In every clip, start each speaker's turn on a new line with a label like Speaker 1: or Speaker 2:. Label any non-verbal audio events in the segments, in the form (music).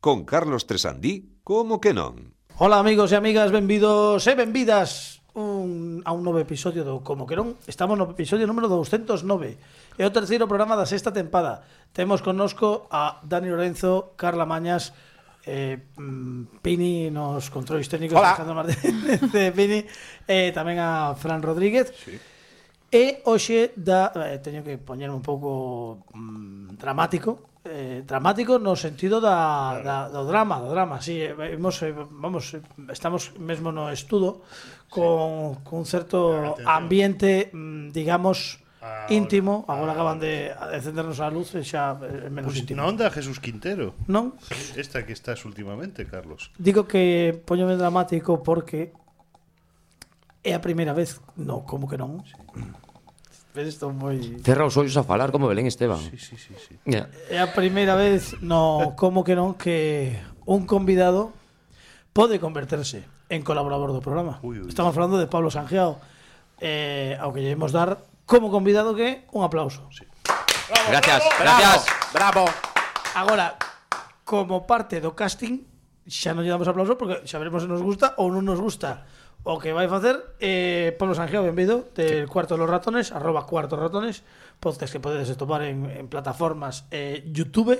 Speaker 1: Con Carlos Tresandí, como que non?
Speaker 2: Ola amigos e amigas, benvidos e benvidas un, a un novo episodio do Como que non Estamos no episodio número 209 É o terceiro programa da sexta tempada Temos connosco a Dani Lorenzo, Carla Mañas eh, mm, Pini nos controis técnicos
Speaker 3: Ola.
Speaker 2: Alejandro Martínez (laughs) de Pini eh, Tamén a Fran Rodríguez sí. E hoxe da, eh, teño que poñerme un pouco mm, dramático eh, dramático no sentido da, da, do drama, do drama, sí, eh, hemos, eh, vamos, eh, estamos mesmo no estudo con, con un certo
Speaker 4: atención.
Speaker 2: ambiente, mm, digamos,
Speaker 4: Ahora,
Speaker 2: íntimo, agora acaban de acendernos a luz e xa é menos
Speaker 4: Pues
Speaker 2: íntimo.
Speaker 4: na onda Jesús Quintero.
Speaker 2: Non?
Speaker 4: Esta que estás últimamente, Carlos.
Speaker 2: Digo que poñome dramático porque é a primeira vez, no, como que non? Ves, Estou moi...
Speaker 5: Cerra os ollos a falar como Belén Esteban.
Speaker 4: Sí, sí, sí, sí.
Speaker 5: Ya.
Speaker 2: É a primeira vez, no, como que non, que un convidado pode converterse en colaborador do programa.
Speaker 4: Ui, ui.
Speaker 2: Estamos falando de Pablo Sanjeao, eh, ao que llevemos dar como convidado que un aplauso.
Speaker 5: Gracias, gracias.
Speaker 3: Bravo.
Speaker 2: Agora, como parte do casting, xa non lle damos aplauso porque xa veremos se nos gusta ou non nos gusta. O que vai facer eh, Pablo Sanjeo, benvido del Cuarto de los Ratones arroba Cuarto Ratones podcast que podedes topar en, en plataformas eh, Youtube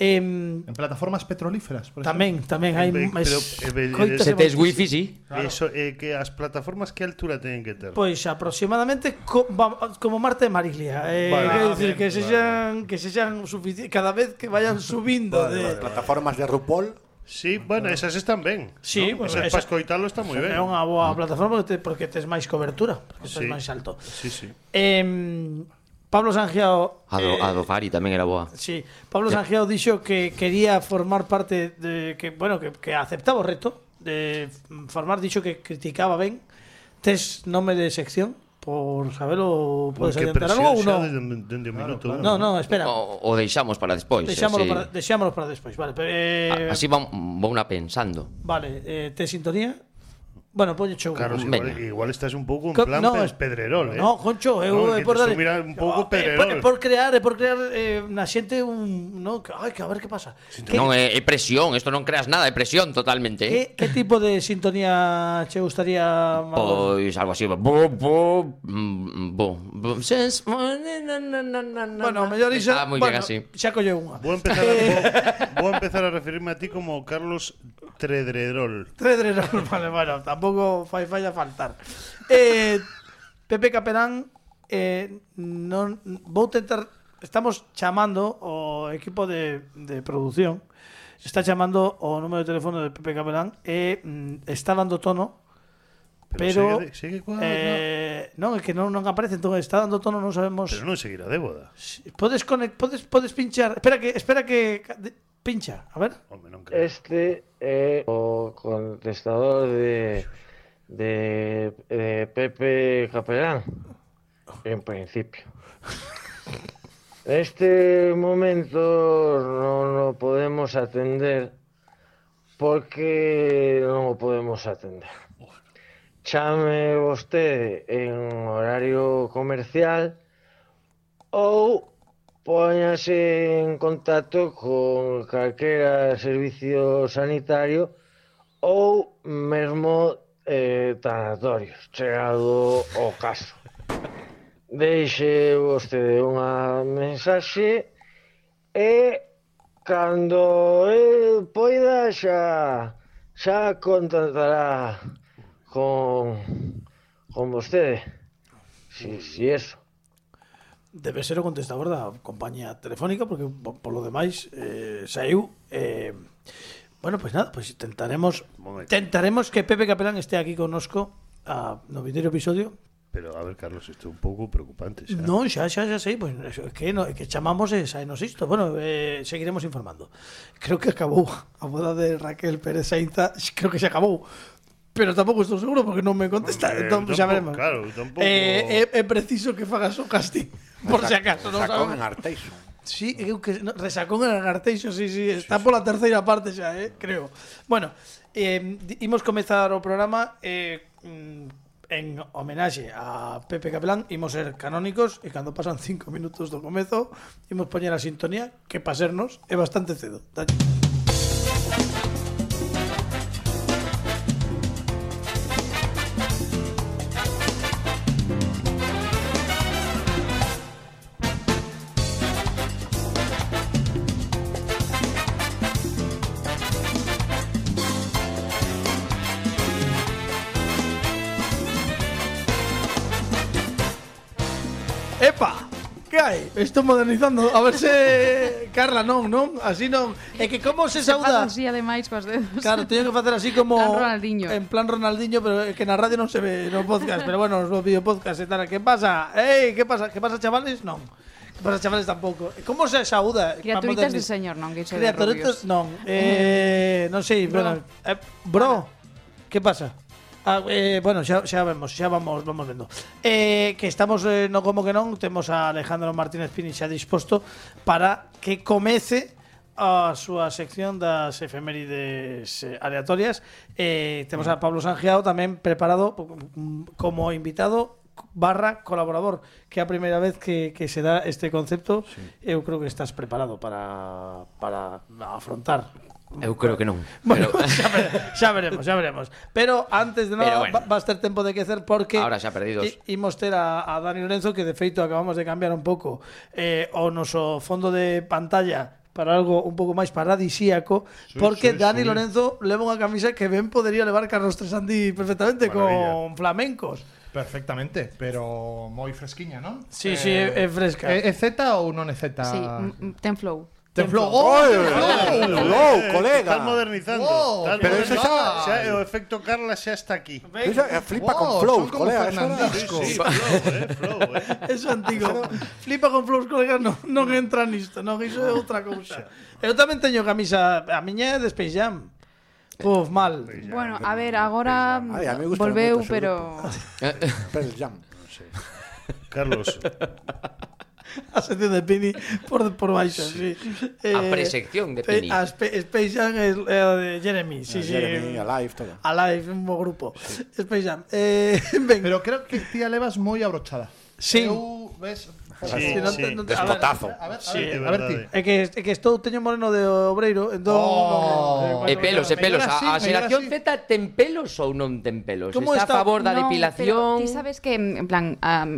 Speaker 2: em,
Speaker 6: En plataformas petrolíferas, por
Speaker 2: Tamén, tamén hai
Speaker 4: Pero,
Speaker 2: máis
Speaker 4: pero, eh,
Speaker 2: coitas
Speaker 4: se
Speaker 5: Se
Speaker 2: e
Speaker 5: tes
Speaker 2: máis-
Speaker 5: wifi, sí.
Speaker 4: Eso, eh, que as plataformas que altura teñen que ter?
Speaker 2: Pois aproximadamente co, va, como Marte e Mariglia, eh,
Speaker 4: Vale,
Speaker 2: quero
Speaker 4: ah,
Speaker 2: dicir
Speaker 4: ben,
Speaker 2: que sexan que sexan suficientes cada vez que vayan subindo de
Speaker 3: Plataformas de RuPaul.
Speaker 4: Sí, bueno, esas están ben.
Speaker 2: Sí,
Speaker 4: ¿no?
Speaker 2: bueno,
Speaker 4: esas
Speaker 2: esa-
Speaker 4: para escoitalo está moi ben.
Speaker 2: É unha boa plataforma porque, te, porque tes máis cobertura, porque tes
Speaker 4: Mm. Sí.
Speaker 2: máis alto.
Speaker 4: Sí, sí.
Speaker 2: Em, eh, Fablo Sanjeao
Speaker 5: A do, a do Fari tamén era boa.
Speaker 2: Sí, Pablo Sanjeao dixo que quería formar parte de que bueno, que, que aceptaba o reto de formar, dixo que criticaba ben. Tes nome de sección por sabelo,
Speaker 4: Uy,
Speaker 2: podes
Speaker 4: que
Speaker 2: adiantar
Speaker 4: presión
Speaker 2: algo ou
Speaker 4: xa
Speaker 2: non?
Speaker 4: Dende, dende o minuto uno.
Speaker 2: No, no, espera.
Speaker 5: O, o deixamos para despois. eh,
Speaker 2: Deixámoslo,
Speaker 5: Oh, sí.
Speaker 2: para, deixámoslo para despois, vale. Pero, eh,
Speaker 5: A- Así vamos una pensando.
Speaker 2: Vale, eh, te sintonía? Bueno, poño chou.
Speaker 4: Carlos,
Speaker 5: Venga.
Speaker 4: igual, igual estás un pouco en
Speaker 2: Co-
Speaker 4: plan
Speaker 2: no,
Speaker 4: pe-
Speaker 2: es-
Speaker 4: pedrerol, eh?
Speaker 2: No, Concho, eu
Speaker 4: No,
Speaker 2: é
Speaker 4: que
Speaker 2: por
Speaker 4: te
Speaker 2: dar
Speaker 4: subirá un pouco
Speaker 2: Eh, por,
Speaker 4: pedrerol.
Speaker 2: por crear, é por crear eh, na xente un, no, que, ai, que a ver que pasa. Que,
Speaker 5: Non é, é eh, presión, isto non creas nada, é presión totalmente.
Speaker 2: que,
Speaker 5: eh.
Speaker 2: que tipo de sintonía che gustaría Manolo?
Speaker 5: Pois algo así, bo, bo, mm, bo, bo, sense- na, na, na, na, na.
Speaker 2: Bueno, mellor iso.
Speaker 5: Está moi
Speaker 2: bueno,
Speaker 5: ben Ah, así.
Speaker 2: Xa colle unha.
Speaker 4: Vou
Speaker 2: (laughs)
Speaker 4: empezar, a, vou, vou empezar a referirme a ti como Carlos Tredredrol.
Speaker 2: Tredrerol, (laughs) vale, bueno, tampouco fai falla faltar. Eh, Pepe Caperán, eh, non, vou tentar... Estamos chamando o equipo de, de producción Está chamando o número de teléfono de Pepe Capelán e mm, está dando tono, pero,
Speaker 4: Sigue, sigue coa-
Speaker 2: eh, non, é que non, non aparece, entón está dando tono, non sabemos.
Speaker 4: Pero non seguirá de boda.
Speaker 2: Si- Podes conec- podes podes pinchar. Espera que espera que ca- de- pincha, a ver.
Speaker 4: Home, non creo.
Speaker 7: Este é o contestador de, de, de Pepe Capelán, en principio. Neste momento non o podemos atender porque non o podemos atender. Chame vostede en horario comercial ou póñase en contacto con calquera servicio sanitario ou mesmo eh, tanatorios, chegado o caso. Deixe vostede unha mensaxe e cando el poida xa xa contactará con con vostede. Si, si eso.
Speaker 2: Debe ser o contestador da compañía telefónica porque po- por lo demais eh, saiu eh, Bueno, pues nada, pues intentaremos
Speaker 4: Momento.
Speaker 2: tentaremos que Pepe Capelán esté aquí conosco a no vindeiro episodio.
Speaker 4: Pero, a ver, Carlos, isto é un pouco preocupante xa.
Speaker 2: Non, xa, xa, xa, sei, pues, é que, no, é que chamamos e saínos isto. Bueno, eh, seguiremos informando. Creo que acabou a boda de Raquel Pérez Sainza, creo que se acabou. Pero tampouco estou seguro porque non me contesta.
Speaker 4: Hombre,
Speaker 2: entón, xa
Speaker 4: tampouco,
Speaker 2: veremos.
Speaker 4: Eh, claro, tampouco-
Speaker 2: Eh, é, é preciso que fagas o casting. Por si acaso, non
Speaker 3: Sacón en
Speaker 2: sabemos.
Speaker 3: Arteixo.
Speaker 2: Sí, eu que no, resacón en Arteixo, sí, sí, está pola terceira parte xa, eh, creo. Bueno, eh, di- imos comezar o programa eh, mm, en homenaxe a Pepe Capelán, imos ser canónicos e cando pasan cinco minutos do comezo, imos poñer a sintonía que pa sernos é bastante cedo. Dalle. Ai, estou modernizando. A ver se (laughs) Carla non, non? Así non. É que como se
Speaker 3: Faz
Speaker 2: sauda?
Speaker 3: así ademais cos
Speaker 2: (laughs)
Speaker 3: dedos.
Speaker 2: Claro, teño que facer así como
Speaker 3: Plan Ronaldinho.
Speaker 2: En plan Ronaldinho, pero é que na radio non se ve no podcast, pero bueno, nos vídeo podcast e tal. Que pasa? Ei, que pasa? Que pasa, chavales? Non. Que pasa, chavales, tampouco. E Como se sauda?
Speaker 3: Criaturitas de señor, non? Que se de
Speaker 2: Criaturitas,
Speaker 3: rubios.
Speaker 2: non. Eh, non
Speaker 3: (laughs)
Speaker 2: sei,
Speaker 3: Bro.
Speaker 2: bueno, eh, bro. Que pasa? Ah, eh, bueno, xa, xa vemos, xa vamos, vamos vendo. Eh, que estamos eh, no como que non, temos a Alejandro Martínez Pini xa disposto para que comece a súa sección das efemérides eh, aleatorias. Eh, temos a Pablo Sangiao tamén preparado mm, como invitado barra colaborador, que é a primeira vez que, que se dá este concepto. Eu creo que estás preparado para, para afrontar
Speaker 5: Eu creo que non.
Speaker 2: Bueno, (laughs)
Speaker 5: Pero-
Speaker 2: xa, vere- xa veremos, xa veremos. Pero antes de nada,
Speaker 5: Pero bueno.
Speaker 2: va- vas ter tempo de quecer porque
Speaker 5: Ahora xa perdidos.
Speaker 2: i- imos ter a, a Dani Lorenzo que de feito acabamos de cambiar un pouco eh, o noso fondo de pantalla para algo un pouco máis paradisíaco porque
Speaker 4: sí,
Speaker 2: Dani
Speaker 4: sí.
Speaker 2: Lorenzo leva unha camisa que ben podería levar Carlos Tresandi perfectamente
Speaker 4: Maravilla.
Speaker 2: con flamencos.
Speaker 6: Perfectamente, pero moi fresquiña, non?
Speaker 2: Sí, sí, é- é fresca.
Speaker 6: É, é Z ou non é Z?
Speaker 3: Sí,
Speaker 8: Ah.
Speaker 3: mm, mm, ten flow.
Speaker 6: Ten flow.
Speaker 8: ¡Oh,
Speaker 6: ¡Oh, ten flow!
Speaker 8: hello,
Speaker 4: Estás
Speaker 8: colega!
Speaker 4: modernizando.
Speaker 6: Wow,
Speaker 4: estás
Speaker 8: pero
Speaker 4: modernizando.
Speaker 8: eso xa-
Speaker 4: Xa, o efecto Carla xa está aquí.
Speaker 2: eh,
Speaker 8: Esa- eh, Flipa
Speaker 6: Wow,
Speaker 8: con
Speaker 6: son
Speaker 8: flow,
Speaker 6: como
Speaker 8: colega. eso era-
Speaker 4: Sí,
Speaker 6: Fernandisco.
Speaker 4: sí, flow, eh, flow, eh.
Speaker 2: Eso é antigo. Flipa con flows, colega, non, non entra nisto, non, iso é outra cousa. Eu tamén teño camisa, a miña é de Space Jam. Puf, mal.
Speaker 3: Bueno, a ver, agora
Speaker 8: Ai, a mí me gusta
Speaker 3: volveu,
Speaker 8: moito ese
Speaker 3: pero
Speaker 8: Pearl Jam.
Speaker 4: Carlos,
Speaker 2: A sección de Pini por, por baixo, sí. Eh,
Speaker 5: A presección de
Speaker 2: pe-
Speaker 5: Pini.
Speaker 2: A Spe- Space Jam é é a de Jeremy, sí, sí.
Speaker 8: Jeremy, Alive, todo.
Speaker 2: Alive, un bo grupo. Space Jam. Eh, (laughs) ven.
Speaker 6: Pero creo que tía levas moi abrochada.
Speaker 2: Sí.
Speaker 6: Eu, ves,
Speaker 2: Si
Speaker 4: Sí,
Speaker 2: non
Speaker 4: sí.
Speaker 2: te- non te- a ver,
Speaker 8: Despotazo.
Speaker 6: A ver, a
Speaker 4: Sí,
Speaker 6: ver,
Speaker 4: de
Speaker 6: a ver ti.
Speaker 4: verdade.
Speaker 2: É que, é que estou teño moreno de obreiro, entón...
Speaker 6: Oh.
Speaker 5: E Eh, pelos, e pelos.
Speaker 6: Mellor así,
Speaker 5: A, a
Speaker 6: mellor
Speaker 5: xeración
Speaker 6: así.
Speaker 5: Z ten pelos ou non ten pelos?
Speaker 2: Como
Speaker 5: está,
Speaker 2: está?
Speaker 5: a favor da
Speaker 3: Non,
Speaker 5: depilación?
Speaker 3: Pero, ti sabes que, en plan, a,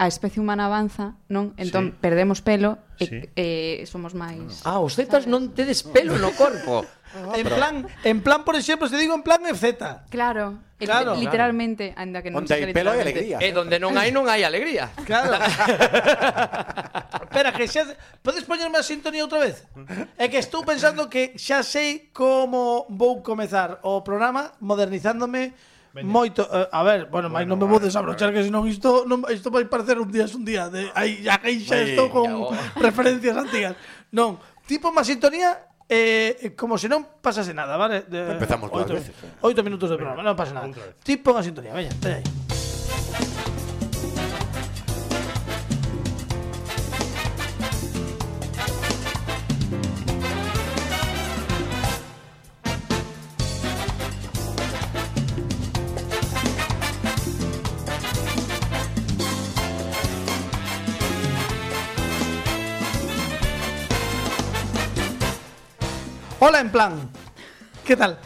Speaker 3: a especie humana avanza, non? Entón, perdemos pelo e,
Speaker 4: Sí.
Speaker 3: e somos máis...
Speaker 5: Ah, os Zetas non tedes pelo no corpo.
Speaker 3: (laughs)
Speaker 2: En plan, en plan, por exemplo, se digo en plan FZ.
Speaker 3: Claro, e li-
Speaker 2: Claro.
Speaker 3: literalmente, anda que non
Speaker 8: Onde
Speaker 3: sei
Speaker 8: hai
Speaker 3: que
Speaker 8: pelo hai
Speaker 3: literalmente.
Speaker 8: alegría.
Speaker 5: E Eh, donde non hai, non hai alegría.
Speaker 2: Claro.
Speaker 8: (laughs)
Speaker 2: Espera, que xa... Podes poñerme a sintonía outra vez? É que estou pensando que xa sei como vou comezar o programa modernizándome moito. Eh, a ver, bueno, bueno non me vou desabrochar que senón isto non, isto vai parecer un día es un día de aí ya que xa estou con
Speaker 5: Veña, oh.
Speaker 2: (laughs) referencias antigas. Non, tipo má sintonía Eh, como se non pasase nada, vale? De,
Speaker 8: Empezamos todas
Speaker 2: oito,
Speaker 8: veces, eh.
Speaker 2: oito minutos de programa, non pasa nada. Tipo unha sintonía, veña, veña aí. Hola en plan. ¿Qué (laughs) tal?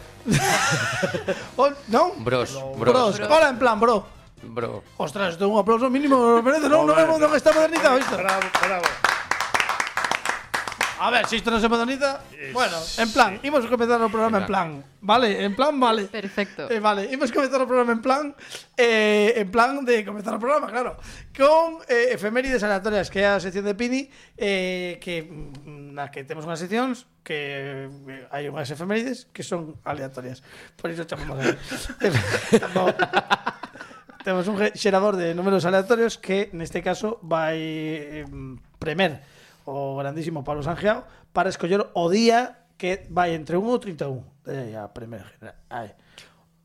Speaker 2: Hol- ¿No?
Speaker 5: Bros,
Speaker 2: Bros.
Speaker 5: bros,
Speaker 2: Hola en plan, bro.
Speaker 5: bro.
Speaker 2: Ostras, esto es un aplauso mínimo, me lo merece, ¿no? No vemos no, que está modernizado esto.
Speaker 4: bravo, bravo.
Speaker 2: A ver, si esto no se moderniza. Bueno, en plan, hemos comenzado el programa en plan. Vale, en plan, vale.
Speaker 3: Perfecto.
Speaker 2: Eh, vale, hemos comenzado el programa en plan. eh, en plan de comenzar el programa, claro. Con eh, efemérides aleatorias, que é a sección de Pini, eh, que mm, na que temos unhas seccións que eh, hai unhas efemérides que son aleatorias. Por iso chamamos a Tampouco- Temos un ge- xerador de números aleatorios que neste caso vai eh, premer o grandísimo Pablo Sangeao para escoller o día que vai entre 1 ou 31. Eh, a primeira general. Ai.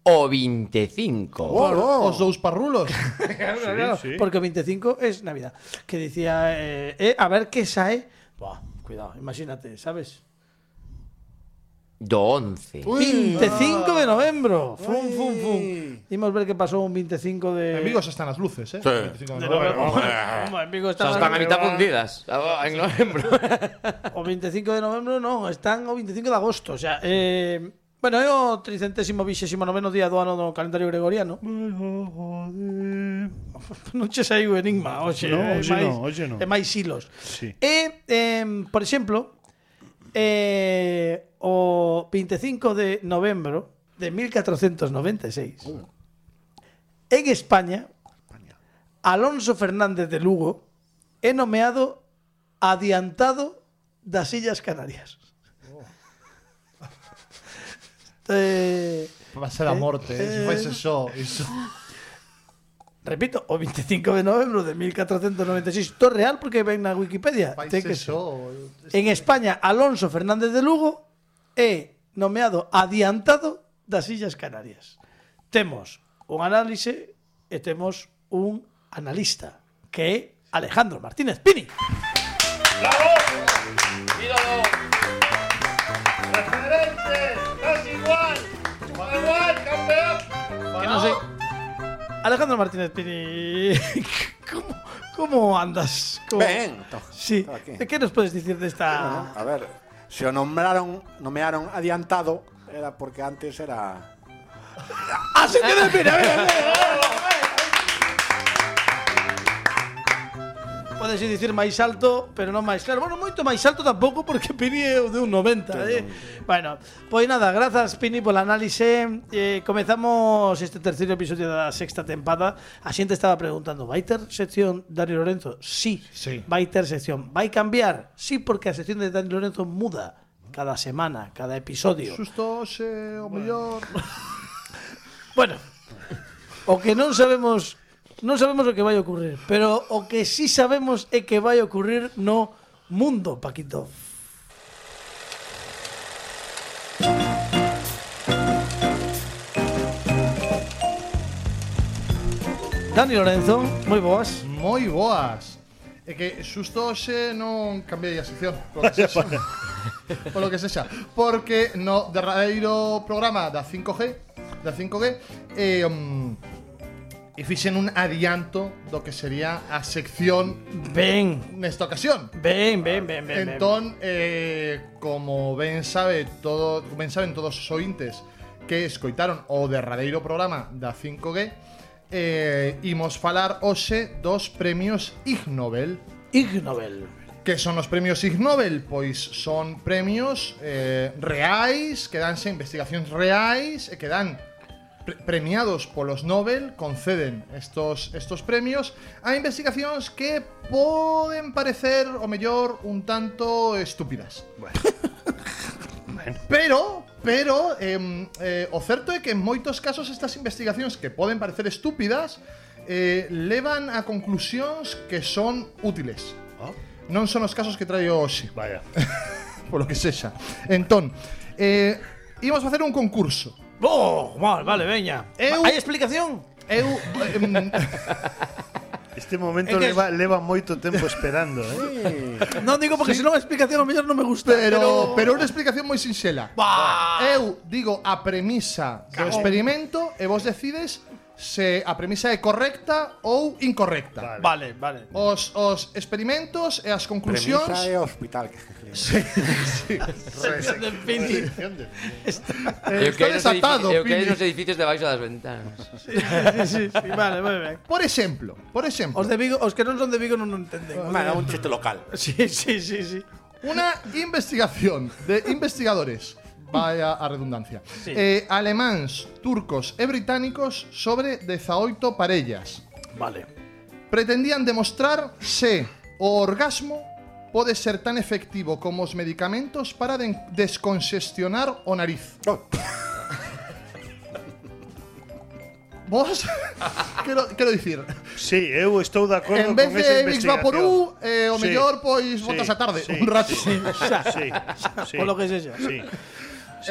Speaker 5: O 25.
Speaker 8: Oh, oh.
Speaker 6: Os dous parrulos.
Speaker 2: Claro, claro,
Speaker 4: sí.
Speaker 2: Porque o 25 es Navidad. Que dicía, eh, eh, a ver que sae. Buah, cuidado, imagínate, ¿sabes?
Speaker 5: Do 11.
Speaker 2: 25 de novembro. Fum, fum, fum. Dimos ver que pasó un 25 de.
Speaker 6: En Vigo xa están as luces, eh?
Speaker 8: Sí.
Speaker 6: 25 de
Speaker 2: de
Speaker 6: novembro.
Speaker 2: novembro. Hombre, en Vigo
Speaker 5: Xa
Speaker 2: están
Speaker 5: están a mitad
Speaker 4: Pero va-
Speaker 5: fundidas. Ah, (laughs) En novembro.
Speaker 2: O 25 de novembro non, están o 25 de agosto, o sea, eh, bueno, é o 329 día do ano do calendario gregoriano. non che saiu o enigma, hoxe,
Speaker 4: No,
Speaker 2: é
Speaker 4: hoxe
Speaker 2: máis,
Speaker 4: non, hoxe non.
Speaker 2: é máis hilos.
Speaker 4: Sí.
Speaker 2: E, em, por exemplo, eh, o 25 de novembro de 1496, en España, Alonso Fernández de Lugo é nomeado adiantado das Illas Canarias. Oh. (laughs) Eh,
Speaker 6: Va a ser a morte, eh,
Speaker 2: Eh,
Speaker 6: se fuese yo. Iso.
Speaker 2: repito, o 25 de novembro de 1496. Esto es real porque ven na Wikipedia. Ten
Speaker 6: Faise
Speaker 2: que ser.
Speaker 6: yo.
Speaker 2: En España, Alonso Fernández de Lugo é nomeado adiantado das Illas Canarias. Temos un análise e temos un analista, que é Alejandro Martínez Pini.
Speaker 6: Que no sé.
Speaker 2: Alejandro Martínez Pini, (laughs) como, como andas? Como...
Speaker 8: Ven. to-
Speaker 2: Sí,
Speaker 8: to aquí.
Speaker 2: que nos podes dicir desta...
Speaker 8: A ver, si o nombraron, nomearon adiantado, era porque antes era.
Speaker 2: Así que mira, mira, Podes ir dicir máis alto, pero non máis claro. Bueno, moito máis alto tampouco porque (laughs) Pini é o de un 90, eh. Bueno, pois nada, grazas Pini pola análise. Eh, comezamos este terceiro episodio da sexta tempada. A xente estaba preguntando, vai ter sección Dani Lorenzo? Sí.
Speaker 6: Sí.
Speaker 2: Vai ter sección. Vai cambiar? Sí, porque a sección de Dani Lorenzo muda cada semana, cada episodio.
Speaker 6: Susto, se, o mellor.
Speaker 2: Bueno, o que non sabemos non sabemos o que vai ocurrir, pero o que sí sabemos é que vai ocurrir no mundo, Paquito. Dani Lorenzo, moi boas.
Speaker 6: Moi boas. É que susto hoxe non cambiei a sección, por lo que sexa. (laughs) por lo que sexa. Porque no derradeiro programa da 5G, da 5G, eh, mm, e fixen un adianto do que sería a sección
Speaker 2: Ben,
Speaker 6: nesta ocasión.
Speaker 2: ben, ben, ben, ben. ben.
Speaker 6: Entón, eh, como ben sabe todo, como ben saben todos os ointes que escoitaron o derradeiro programa da 5G, eh, imos falar hoxe dos premios Ig Nobel.
Speaker 2: Ig Nobel.
Speaker 6: Que son os premios Ig Nobel? Pois son premios eh, reais, que danse investigacións reais e que dan pre premiados polos Nobel conceden estos, estos premios a investigacións que poden parecer o mellor un tanto estúpidas. (laughs) Pero, pero, em, eh, o certo é que en moitos casos estas investigacións que poden parecer estúpidas eh, levan a conclusións que son útiles. Non son os casos que traio hoxe, (laughs)
Speaker 4: Vaya.
Speaker 6: polo que sexa. Entón, eh, imos facer un concurso.
Speaker 2: Oh, mal, vale, veña.
Speaker 6: Eu-
Speaker 2: Hai explicación?
Speaker 6: Eu... (laughs) em,
Speaker 4: Este momento
Speaker 2: É que-
Speaker 4: leva, leva moito tempo esperando,
Speaker 2: (laughs)
Speaker 4: eh?
Speaker 2: Non digo porque senón a explicación a mellor non me gusta,
Speaker 6: pero, pero unha explicación moi sinxela.
Speaker 2: Bah.
Speaker 6: Eu digo a premisa do experimento e vos decides se a premisa é correcta ou incorrecta.
Speaker 4: Vale.
Speaker 2: Vale, Oh, vale.
Speaker 6: os, os experimentos e as conclusións
Speaker 8: Premisa e hospital.
Speaker 2: Sección de Pini. Está-
Speaker 6: eh, está desatado.
Speaker 5: Eu quero
Speaker 6: Pini.
Speaker 5: nos edificios debaixo das ventanas.
Speaker 2: sí, sí, sí, vale, moi ben.
Speaker 6: Por exemplo, por exemplo,
Speaker 2: Os de Vigo, os que non son de Vigo non o entenden.
Speaker 8: Bueno, un chiste local.
Speaker 2: (laughs) Sí, sí, sí, sí.
Speaker 6: una investigación de investigadores, vaya a redundancia, eh, alemáns, turcos e británicos sobre 18 parellas.
Speaker 2: Vale.
Speaker 6: pretendían demostrar se o orgasmo pode ser tan efectivo como os medicamentos para den desconxestionar o nariz.
Speaker 8: Oh.
Speaker 6: Vos, quero, quero dicir,
Speaker 4: Sí, eu estou de acordo
Speaker 6: en vez
Speaker 4: con esa
Speaker 6: de Big
Speaker 4: investigación.
Speaker 6: Vaporú, eh, o
Speaker 4: Sí,
Speaker 6: mellor, pois,
Speaker 4: sí,
Speaker 6: botas a tarde,
Speaker 4: sí,
Speaker 6: un rato. (laughs)
Speaker 4: Sí, sí, sí.
Speaker 2: Polo Pues que sexa.
Speaker 4: Sí. sí.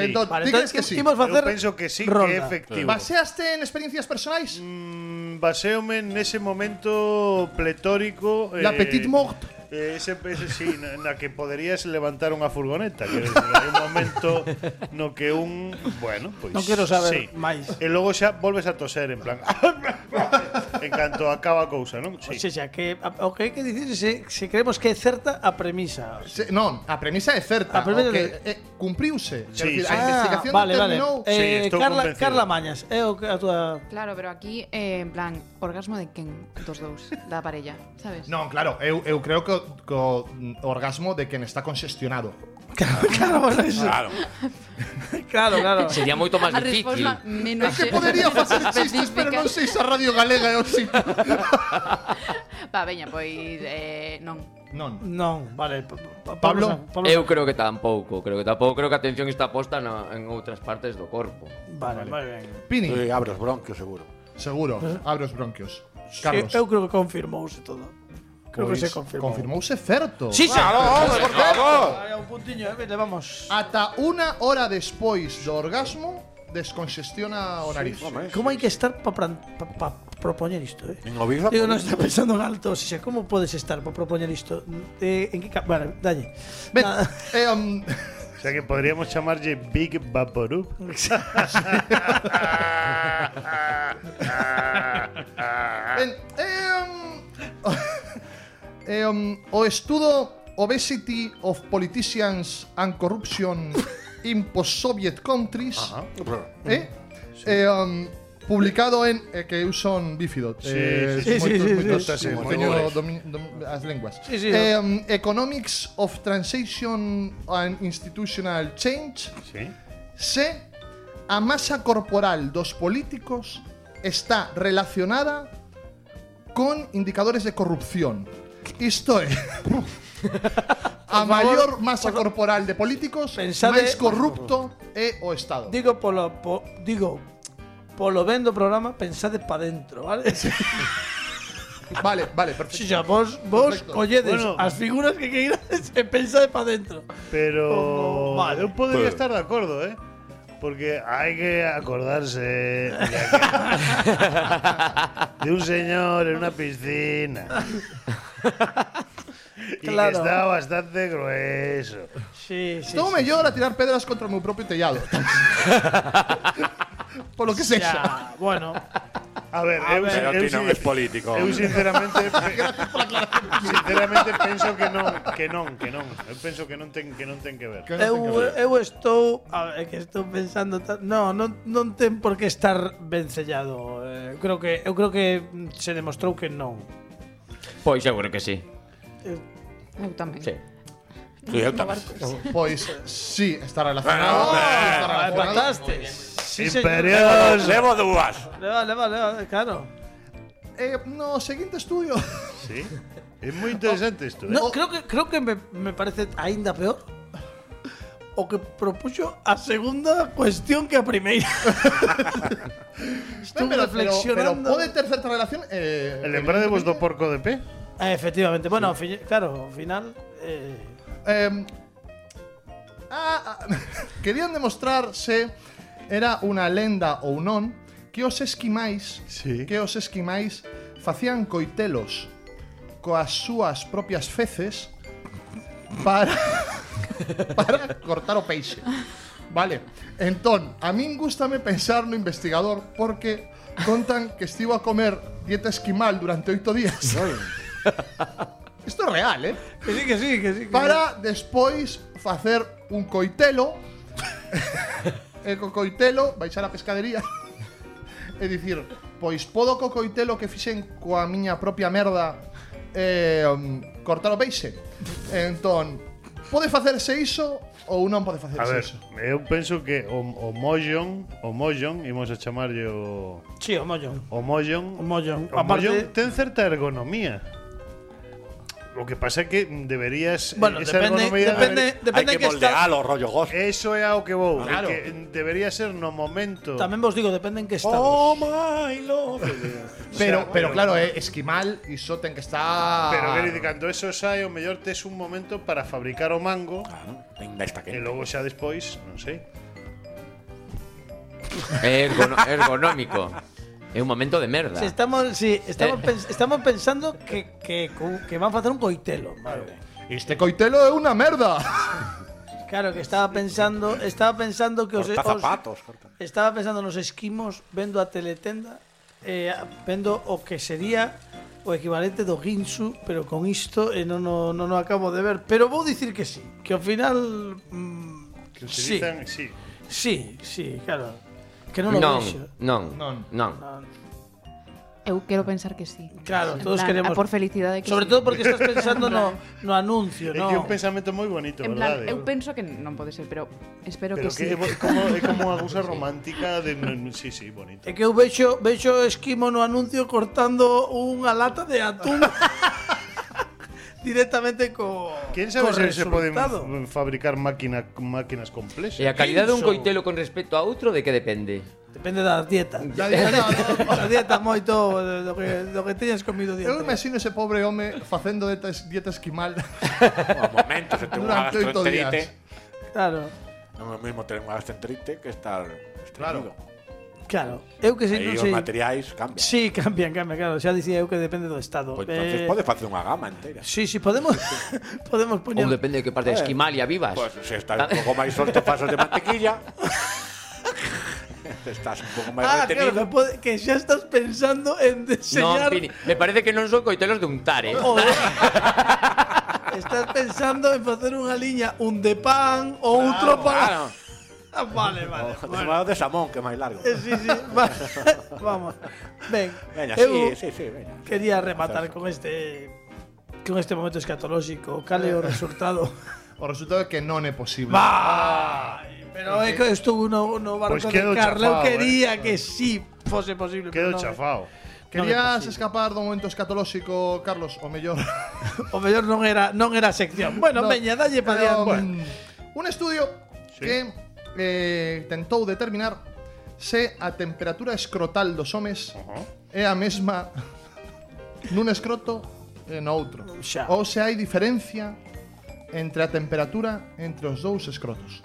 Speaker 6: Entón,
Speaker 2: Vale,
Speaker 6: ti
Speaker 2: entonces
Speaker 6: crees que sí?
Speaker 2: imos facer
Speaker 4: eu penso que sí que é
Speaker 2: ronda.
Speaker 4: efectivo.
Speaker 6: Baseaste en experiencias personais?
Speaker 4: Mm, Baseome nese momento pletórico
Speaker 6: La petite mort.
Speaker 4: eh, ese, ese, sí, na, na que poderías levantar unha furgoneta Quero dicir, Hai un momento no que un Bueno, pues pois
Speaker 2: Non quero saber máis.
Speaker 4: E logo xa volves a toser en plan En canto acaba a cousa, non?
Speaker 2: Sí. Ou sea, Pues que a- o que hai que dicir é se, se creemos que é certa a premisa.
Speaker 6: Se, non, a premisa é certa,
Speaker 2: A premisa
Speaker 6: o que
Speaker 2: é-
Speaker 6: eh, cumpriuse. Quero
Speaker 4: Sí,
Speaker 6: dicir,
Speaker 4: sí.
Speaker 6: a
Speaker 4: Ah,
Speaker 6: investigación
Speaker 2: vale, vale.
Speaker 6: determinou
Speaker 4: Sí,
Speaker 2: Eh,
Speaker 4: estou
Speaker 2: Carla,
Speaker 4: convencido.
Speaker 2: Carla Mañas, é o que a tua
Speaker 3: Claro, pero aquí, eh, en plan, orgasmo de quen dos dous, da parella, sabes?
Speaker 6: Non, claro, eu, eu creo que o, que o orgasmo de quen está conxestionado.
Speaker 2: Claro, bueno, eso.
Speaker 8: Claro.
Speaker 2: (laughs) Claro, claro.
Speaker 5: Sería moito máis
Speaker 3: (laughs) A
Speaker 5: difícil.
Speaker 3: resposta menos (laughs)
Speaker 6: Que podería facer
Speaker 2: (laughs)
Speaker 6: chistes, pero non sei se a Radio Galega é o sitio.
Speaker 3: Va, veña, pois eh, non.
Speaker 6: Non.
Speaker 2: Non, vale. pa- pa-
Speaker 6: Pablo?
Speaker 2: San- Pablo
Speaker 5: Eu creo que tampouco, creo que tampouco, creo que a atención está posta na, en outras partes do corpo.
Speaker 2: San- Vale, vale, ben.
Speaker 6: Pini,
Speaker 8: Sí, abre os bronquios, seguro.
Speaker 6: seguro, abre os bronquios. Carlos.
Speaker 2: Eh.
Speaker 6: pois
Speaker 2: Eu, eu creo que confirmouse todo. Creo que se confirmou.
Speaker 6: Confirmouse certo.
Speaker 2: Sí,
Speaker 1: ¡Claro, hombre, por favor!
Speaker 2: Vale, un puntiño, eh, vete, vamos.
Speaker 6: Ata unha hora despois do orgasmo, desconxestiona o nariz.
Speaker 2: Como hai que estar para pa, pa propoñer isto, eh?
Speaker 8: En o Big Rock,
Speaker 2: Digo, non está pensando en alto, o sea, como podes estar para propoñer isto? Eh, en que ca- vale, dalle.
Speaker 6: Ben,
Speaker 2: Nada.
Speaker 6: eh, um,
Speaker 4: O sea que podríamos llamarle Big Vaporub.
Speaker 2: Ah.
Speaker 6: ben, eh, (laughs) um, eh, um, o estudo Obesity of Politicians and
Speaker 2: (laughs)
Speaker 6: Corruption in Post-Soviet Countries eh, eh, um, publicado en eh, que eu son bífido
Speaker 4: Sí,
Speaker 6: eh,
Speaker 4: sí,
Speaker 2: sí, sí,
Speaker 6: moito-
Speaker 2: sí,
Speaker 6: moito-
Speaker 4: sí, sí,
Speaker 6: moito-
Speaker 4: sí,
Speaker 6: teño
Speaker 4: motores.
Speaker 6: eh, domi- dom- as lenguas
Speaker 2: Sí, sí,
Speaker 6: Eh, um, Economics of Transaction and Institutional Change
Speaker 4: Sí.
Speaker 6: se a masa corporal dos políticos está relacionada con indicadores de corrupción. Isto
Speaker 2: (laughs)
Speaker 6: é a maior masa corporal de políticos,
Speaker 2: pensade-
Speaker 6: máis corrupto é o Estado.
Speaker 2: Digo polo po, digo polo ben do programa, pensade pa dentro, vale? (laughs) Si
Speaker 6: Vale, vale, perfecto.
Speaker 2: xa vos vos
Speaker 6: Perfecto.
Speaker 2: colledes
Speaker 4: Bueno.
Speaker 2: as figuras que queirades e pensade pa dentro.
Speaker 4: Pero
Speaker 2: Como- vale.
Speaker 4: yo podría estar de acuerdo, ¿eh? Porque hay que acordarse de,
Speaker 9: (laughs)
Speaker 4: aquel- de un señor en una piscina. y
Speaker 2: Claro.
Speaker 4: que está bastante grueso.
Speaker 2: Sí, sí.
Speaker 6: Estou mellor a tirar pedras contra o meu propio
Speaker 2: (laughs)
Speaker 6: tellado. Por lo que sexa.
Speaker 2: Xa, bueno,
Speaker 4: A ver, eu,
Speaker 9: Pero
Speaker 2: Eh,
Speaker 4: eu
Speaker 9: ti non
Speaker 4: sin-
Speaker 9: es político.
Speaker 4: eu (laughs) sinceramente sinceramente penso que non, que non, que non. Eu penso que non ten que non ten que ver.
Speaker 2: (laughs) eu, eu estou, a ver, que estou pensando, ta- no, non non ten por que estar vencellado. Eh, creo que eu creo que mm, se demostrou que non.
Speaker 5: Pois eu creo que sí.
Speaker 3: Eu tamén.
Speaker 5: Sí.
Speaker 9: Sí, eu tamén.
Speaker 6: Pois Pues, sí, está relacionado. está relacionado.
Speaker 2: Mataste. Ah, Sí, señor.
Speaker 4: Imperios.
Speaker 9: Levo dúas.
Speaker 2: Leva, leva, leva, claro.
Speaker 6: Eh, no, seguinte estudio.
Speaker 4: Sí. É moi interesante isto. eh?
Speaker 2: No, creo que creo que me, me parece aínda peor o que propuxo a segunda cuestión que a (laughs) primeira. Estou
Speaker 6: Ben, pero, pero, pero
Speaker 2: reflexionando.
Speaker 6: pode ter certa relación eh,
Speaker 4: E Lembrádevos do porco de pé?
Speaker 2: Ah, efectivamente. Bueno, ao fi- claro, ao final eh,
Speaker 6: Eh, ah, ah, (laughs) querían demostrar se era unha lenda ou non que os esquimais
Speaker 4: Sí.
Speaker 6: que os esquimais facían coitelos coas súas propias feces para (laughs) para cortar o peixe. Vale. Entón, a min gustame pensar no investigador porque contan que estivo a comer dieta esquimal durante oito días. Isto é real, eh?
Speaker 2: que sí, que sí, que sí. que-
Speaker 6: para despois facer un coitelo e co coitelo baixar a pescadería e dicir pois podo co coitelo que fixen coa miña propia merda eh, um, cortar o peixe entón pode facerse iso ou non pode facerse
Speaker 4: A ver,
Speaker 6: iso
Speaker 4: eu penso que o, o mollón, o mollón, imos a chamarlle o,
Speaker 2: Sí, o mollón.
Speaker 4: o mollón,
Speaker 2: O mollón.
Speaker 4: o mollón
Speaker 2: Aparte,
Speaker 4: ten certa ergonomía. O que pasa é que deberías
Speaker 2: bueno,
Speaker 4: esa
Speaker 2: depende,
Speaker 4: ergonomía
Speaker 2: depende,
Speaker 4: deber-
Speaker 9: Hai
Speaker 2: depende
Speaker 9: que
Speaker 2: que está.
Speaker 9: moldealo, rollo gozo.
Speaker 4: Eso é ao que vou, de
Speaker 2: Claro.
Speaker 4: que debería ser no momento.
Speaker 2: Tamén vos digo, depende en que estado.
Speaker 8: Oh,
Speaker 9: my love.
Speaker 4: sea,
Speaker 6: pero, pero
Speaker 4: pero-
Speaker 6: claro, eh, esquimal iso ten que estar
Speaker 2: Ah.
Speaker 4: Pero quero dicir, cando eso sai, o mellor tes un momento para fabricar o mango
Speaker 9: Ainda está
Speaker 8: (laughs)
Speaker 9: que.
Speaker 4: e logo xa despois, non sei.
Speaker 5: É ergono- ergonómico. É un momento de merda.
Speaker 2: Si estamos, sí, estamos,
Speaker 5: Eh.
Speaker 2: pens- estamos pensando que, que, que van a hacer un coitelo. Vale.
Speaker 6: este coitelo é unha merda
Speaker 2: Claro, que estaba pensando, estaba pensando que os,
Speaker 9: Corta
Speaker 2: os-
Speaker 9: zapatos. corta.
Speaker 2: estaba pensando nos esquimos vendo a teletenda eh, vendo o que sería o equivalente do Ginsu, pero con isto eh, non o non o acabo de ver, pero vou dicir que sí, que ao final mm,
Speaker 4: Que
Speaker 2: sí,
Speaker 4: utilizan, sí.
Speaker 2: sí, sí, claro. Que non o
Speaker 5: Non,
Speaker 2: vexo.
Speaker 5: non,
Speaker 6: Non.
Speaker 5: non.
Speaker 2: Non.
Speaker 3: Eu quero pensar que sí.
Speaker 2: Claro,
Speaker 3: En
Speaker 2: todos
Speaker 3: plan,
Speaker 2: queremos.
Speaker 3: a por felicidade que
Speaker 2: Sobre
Speaker 3: sí.
Speaker 2: todo porque estás pensando
Speaker 3: (laughs) En
Speaker 2: no,
Speaker 3: plan-
Speaker 2: no anuncio,
Speaker 4: É que é
Speaker 2: no.
Speaker 4: un pensamento moi bonito,
Speaker 3: En plan,
Speaker 4: verdade?
Speaker 3: eu penso que non pode ser, pero espero
Speaker 4: Pero
Speaker 3: que, sí.
Speaker 4: que é bo-
Speaker 3: (laughs)
Speaker 4: como,
Speaker 2: (laughs)
Speaker 4: é como unha cousa romántica de... Sí, sí, bonito.
Speaker 2: É que eu vexo, vexo esquimo no anuncio cortando unha lata de atún (laughs) directamente co
Speaker 4: ¿Quién
Speaker 2: co
Speaker 4: sabe si se pueden
Speaker 2: resultado.
Speaker 4: f- fabricar máquina, máquinas complejas?
Speaker 5: E a calidade dun
Speaker 2: Iso.
Speaker 5: coitelo con respecto a outro de que depende?
Speaker 2: Depende da dieta. Da dieta, (laughs) da dieta moito do que do que teñas comido dieta.
Speaker 6: Eu imagino ese pobre home facendo dieta, dieta esquimal.
Speaker 9: Un momento,
Speaker 6: (laughs)
Speaker 9: se tengo una
Speaker 6: Durante oito días.
Speaker 9: gastroenterite.
Speaker 2: Claro.
Speaker 9: No es lo mismo tener una gastroenterite que estar estreñido.
Speaker 2: Claro. Eu que sei,
Speaker 9: Aí
Speaker 2: non
Speaker 9: os
Speaker 2: sei.
Speaker 9: materiais cambian.
Speaker 2: Sí, cambian, cambian, claro. Xa dicía eu que depende do estado.
Speaker 9: Pois Pues entonces
Speaker 2: Eh,
Speaker 9: podes facer unha gama entera.
Speaker 2: Sí, sí, podemos (laughs) podemos
Speaker 5: Ou
Speaker 2: poñer
Speaker 5: depende de que parte de esquimalia vivas?
Speaker 9: Pues si estás un pouco máis solto, pasos de
Speaker 2: (laughs)
Speaker 9: mantequilla. estás un pouco máis
Speaker 2: Ah, claro, que,
Speaker 9: retenido.
Speaker 2: pode, que xa estás pensando en
Speaker 5: non,
Speaker 2: diseñar
Speaker 5: Pini, me parece que non son coitelos de untar, eh?
Speaker 2: O- (laughs) Estás pensando en facer unha liña un de pan ou outro para.
Speaker 9: Claro,
Speaker 2: (laughs) Ah, Vale, vale. bueno.
Speaker 9: bueno. de samón, que é máis largo.
Speaker 2: Eh, sí, sí, (laughs) va- Vamos. Ben.
Speaker 9: Veña,
Speaker 2: eu
Speaker 9: sí, sí, sí, veña.
Speaker 2: quería rematar con este con este momento escatolóxico. Cal é o resultado?
Speaker 6: (laughs) O resultado é que non é posible.
Speaker 2: Vai. Pero é que estuvo no, no barco
Speaker 4: Pois
Speaker 2: de
Speaker 4: quedo
Speaker 2: Carla. Eu
Speaker 4: chafao,
Speaker 2: quería que sí fose posible. pero
Speaker 4: Quedo
Speaker 2: non é.
Speaker 4: chafado.
Speaker 6: Querías escapar do momento escatolóxico, Carlos, o
Speaker 2: (laughs)
Speaker 6: mellor.
Speaker 2: O mellor non era non era sección. Bueno,
Speaker 6: No,
Speaker 2: veña, dalle pa
Speaker 6: pero,
Speaker 2: diante.
Speaker 6: mm, Un estudio
Speaker 4: Sí.
Speaker 6: que eh, tentou determinar se a temperatura escrotal dos homes é a mesma (laughs) nun escroto e no outro.
Speaker 2: Xa.
Speaker 6: Ou se hai diferencia entre a temperatura entre os dous escrotos.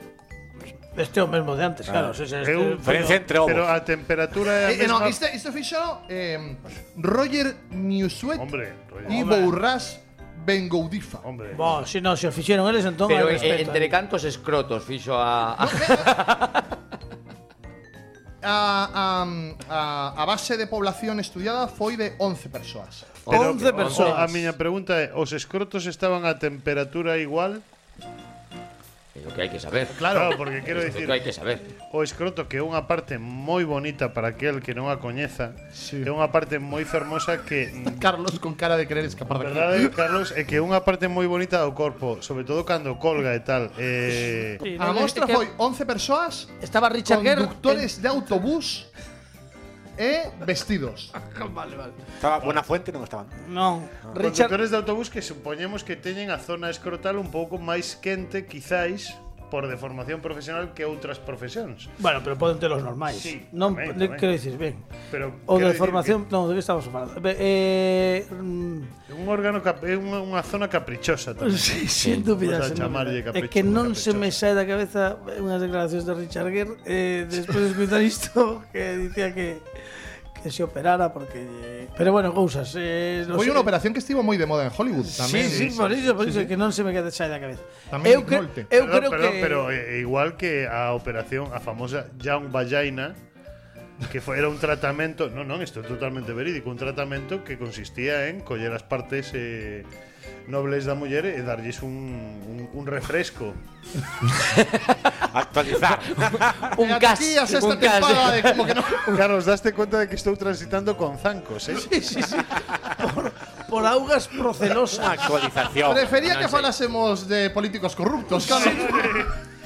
Speaker 2: Este é o mesmo de antes, claro. se- se-
Speaker 4: É un-
Speaker 2: este-
Speaker 9: Diferencia entre ovos.
Speaker 4: Pero a temperatura é a
Speaker 6: Eh, eh, no,
Speaker 4: mesma-
Speaker 6: isto, isto fixo eh, Roger Newsweek
Speaker 4: Hombre, Roger.
Speaker 6: e
Speaker 2: Hombre.
Speaker 6: Bourras Bengoudifa.
Speaker 4: Hombre,
Speaker 2: Bo, si no, se o fixeron eles, entón
Speaker 5: Pero
Speaker 2: hai
Speaker 5: eh,
Speaker 2: respeto aí.
Speaker 5: entre cantos escrotos fixo a... a...
Speaker 6: eh, A, a, a, a base de población estudiada foi de 11 persoas.
Speaker 2: 11
Speaker 4: O- a
Speaker 2: persoas.
Speaker 4: miña pregunta é, os escrotos estaban a temperatura igual?
Speaker 5: É o que hai que saber.
Speaker 4: Claro, porque quero
Speaker 5: É
Speaker 4: dicir,
Speaker 5: o que hai que saber.
Speaker 4: o escroto que é unha parte moi bonita para aquel que non a coñeza, é unha parte moi fermosa que
Speaker 6: (laughs)
Speaker 4: mm,
Speaker 2: (laughs)
Speaker 6: Carlos con cara de querer escapar de aquí.
Speaker 4: Verdade, Carlos, é que é unha parte moi bonita do corpo, sobre todo cando colga e tal. Eh,
Speaker 2: Sí,
Speaker 6: A
Speaker 2: non, é
Speaker 6: mostra
Speaker 2: que
Speaker 6: foi 11 persoas,
Speaker 2: Estaba Richard Gere.
Speaker 6: conductores de autobús e vestidos.
Speaker 9: Estaba buena fuente non estaban.
Speaker 2: en- Non, Eh, Richard
Speaker 4: Conductores de autobús que supoñemos que teñen a zona escrotal un pouco máis quente, quizáis, por deformación profesional que outras profesións.
Speaker 2: Bueno, pero poden ter os normais.
Speaker 4: Sí,
Speaker 2: non
Speaker 4: tamén,
Speaker 2: le-
Speaker 4: tamén.
Speaker 2: quero dicir, ben.
Speaker 4: Pero
Speaker 2: O
Speaker 4: quero
Speaker 2: de
Speaker 4: dicir
Speaker 2: formación, non, de que estamos falando? Be- Eh,
Speaker 4: que É un órgano cap- é unha, unha zona caprichosa
Speaker 2: (laughs)
Speaker 4: tamén.
Speaker 2: sí, sin dúbida,
Speaker 4: Vamos
Speaker 2: sin
Speaker 4: pues a chamarlle
Speaker 2: dúbida. É
Speaker 4: capricho,
Speaker 2: que non
Speaker 4: caprichosa.
Speaker 2: se me sae da cabeza unhas declaracións de Richard Gere eh,
Speaker 4: (laughs)
Speaker 2: despois de escutar isto que dicía que que se operara porque eh, pero bueno, cousas, eh, non
Speaker 6: Foi
Speaker 2: sei.
Speaker 6: unha operación que estivo moi de moda en Hollywood tamén.
Speaker 2: Sí, sí, por iso, por iso que non se me queda sae da cabeza.
Speaker 6: Tamén
Speaker 2: eu
Speaker 6: Nick
Speaker 2: cre-
Speaker 6: Nolte.
Speaker 2: eu
Speaker 4: Perdón,
Speaker 2: creo
Speaker 4: perdón,
Speaker 2: que
Speaker 4: pero eh, igual que a operación, a famosa Young Vagina, que foi, era un tratamiento, no, no, isto é totalmente verídico, un tratamiento que consistía en coller as partes eh, nobles da muller e darlles un, un, un (laughs) refresco.
Speaker 9: Actualizar.
Speaker 5: Un
Speaker 6: E
Speaker 5: cas,
Speaker 6: aquí a sexta
Speaker 5: un cas.
Speaker 6: tempada
Speaker 5: (laughs)
Speaker 6: de como
Speaker 2: (laughs)
Speaker 6: que non...
Speaker 4: Carlos, daste cuenta de que estou transitando con zancos, eh?
Speaker 2: Sí, sí, sí. Por, por augas procelosas.
Speaker 9: Actualización.
Speaker 6: Prefería
Speaker 5: No
Speaker 6: que
Speaker 5: sé.
Speaker 6: falásemos de políticos corruptos, claro.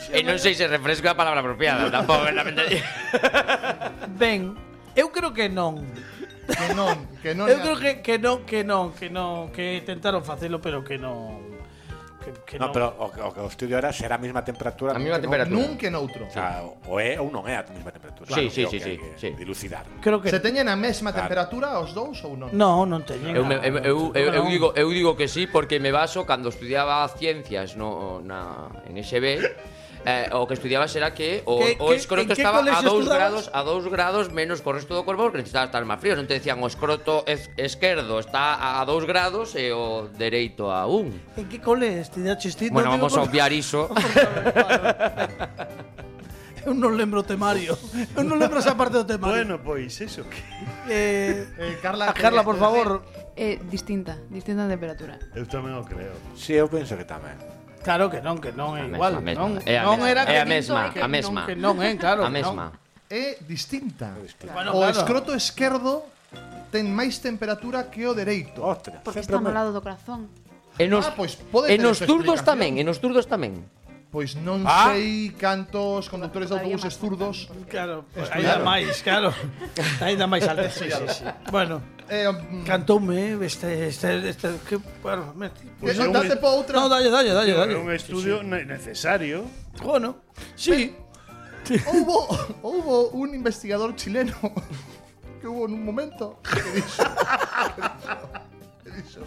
Speaker 5: E non sei se refresco é a palabra apropiada, (laughs) tampouco é lamentable.
Speaker 2: Ben, eu creo que non.
Speaker 6: Que non, que non.
Speaker 2: Eu creo que, que non, que non, que non, que tentaron facelo, pero que non. Que, que
Speaker 9: No, pero o, o que o estudio era será a mesma temperatura.
Speaker 5: A mesma temperatura.
Speaker 6: Nun que
Speaker 9: O,
Speaker 6: noutro.
Speaker 9: sea, o é ou non é a mesma temperatura.
Speaker 5: Sí, sí,
Speaker 9: creo que
Speaker 5: sí, sí,
Speaker 9: hai que
Speaker 5: sí.
Speaker 9: Dilucidar.
Speaker 2: Creo que
Speaker 6: Se teñen a mesma temperatura os dous ou non?
Speaker 2: Non, non teñen.
Speaker 5: Eu, me, eu, eu, eu, eu,
Speaker 2: Non.
Speaker 5: digo, eu digo que sí porque me baso cando estudiaba ciencias no, na, en SB eh, o que estudiaba será que o,
Speaker 2: Que-
Speaker 5: o
Speaker 2: que-
Speaker 5: escroto
Speaker 2: en que
Speaker 5: estaba a
Speaker 2: colexio
Speaker 5: 2
Speaker 2: estudabas?
Speaker 5: grados a 2 grados menos que o resto do corpo porque necesitaba estar máis frío non te decían o escroto es, esquerdo está a 2 graus e o dereito a 1
Speaker 2: En que cole estudiaches ti?
Speaker 5: bueno
Speaker 2: Non digo
Speaker 5: vamos a
Speaker 2: por-
Speaker 5: obviar
Speaker 2: (laughs)
Speaker 5: iso
Speaker 2: Eu non lembro o temario. (laughs) Eu non lembro esa parte do temario.
Speaker 4: Bueno, pois eso. que-
Speaker 2: Eh,
Speaker 6: Eh,
Speaker 2: a
Speaker 6: Carla,
Speaker 2: Carla, por favor.
Speaker 3: Eh, distinta, distinta a temperatura.
Speaker 4: Eu tamén o creo.
Speaker 9: Sí, eu penso que tamén.
Speaker 2: Claro que non, que non é
Speaker 5: mesma,
Speaker 2: igual.
Speaker 5: a mesma.
Speaker 2: Non,
Speaker 5: É a
Speaker 2: non
Speaker 5: mesma,
Speaker 2: era
Speaker 5: é a
Speaker 2: que-
Speaker 5: mesma,
Speaker 2: que
Speaker 5: a
Speaker 2: non,
Speaker 5: mesma.
Speaker 2: Que non, eh, claro.
Speaker 5: a
Speaker 2: que non.
Speaker 5: mesma
Speaker 6: É distinta.
Speaker 2: Bueno,
Speaker 6: O
Speaker 2: claro.
Speaker 6: escroto esquerdo ten máis temperatura que o dereito.
Speaker 8: Ostras,
Speaker 3: Porque está no lado do corazón.
Speaker 5: E nos,
Speaker 6: Ah, pois pode
Speaker 5: e
Speaker 6: ter
Speaker 5: nos
Speaker 6: esa
Speaker 5: turdos
Speaker 6: explicación.
Speaker 5: tamén, e nos turdos tamén.
Speaker 6: Pois non
Speaker 9: Ah.
Speaker 6: sei cantos conductores de
Speaker 3: Todavía
Speaker 6: autobuses
Speaker 3: máis.
Speaker 6: zurdos
Speaker 2: Claro, pues, ainda máis, claro. Ainda máis alta, sí, sí, sí. Bueno,
Speaker 6: eh, mm,
Speaker 2: cantoume este este este que bueno, me, pues,
Speaker 6: Pois non date pa outra.
Speaker 2: No, dalle, dalle, dalle, dalle.
Speaker 4: É un estudio ne- necesario.
Speaker 2: Bueno, sí.
Speaker 6: houbo, houbo un investigador chileno (laughs) que hubo nun momento que dixo, (laughs) que dixo,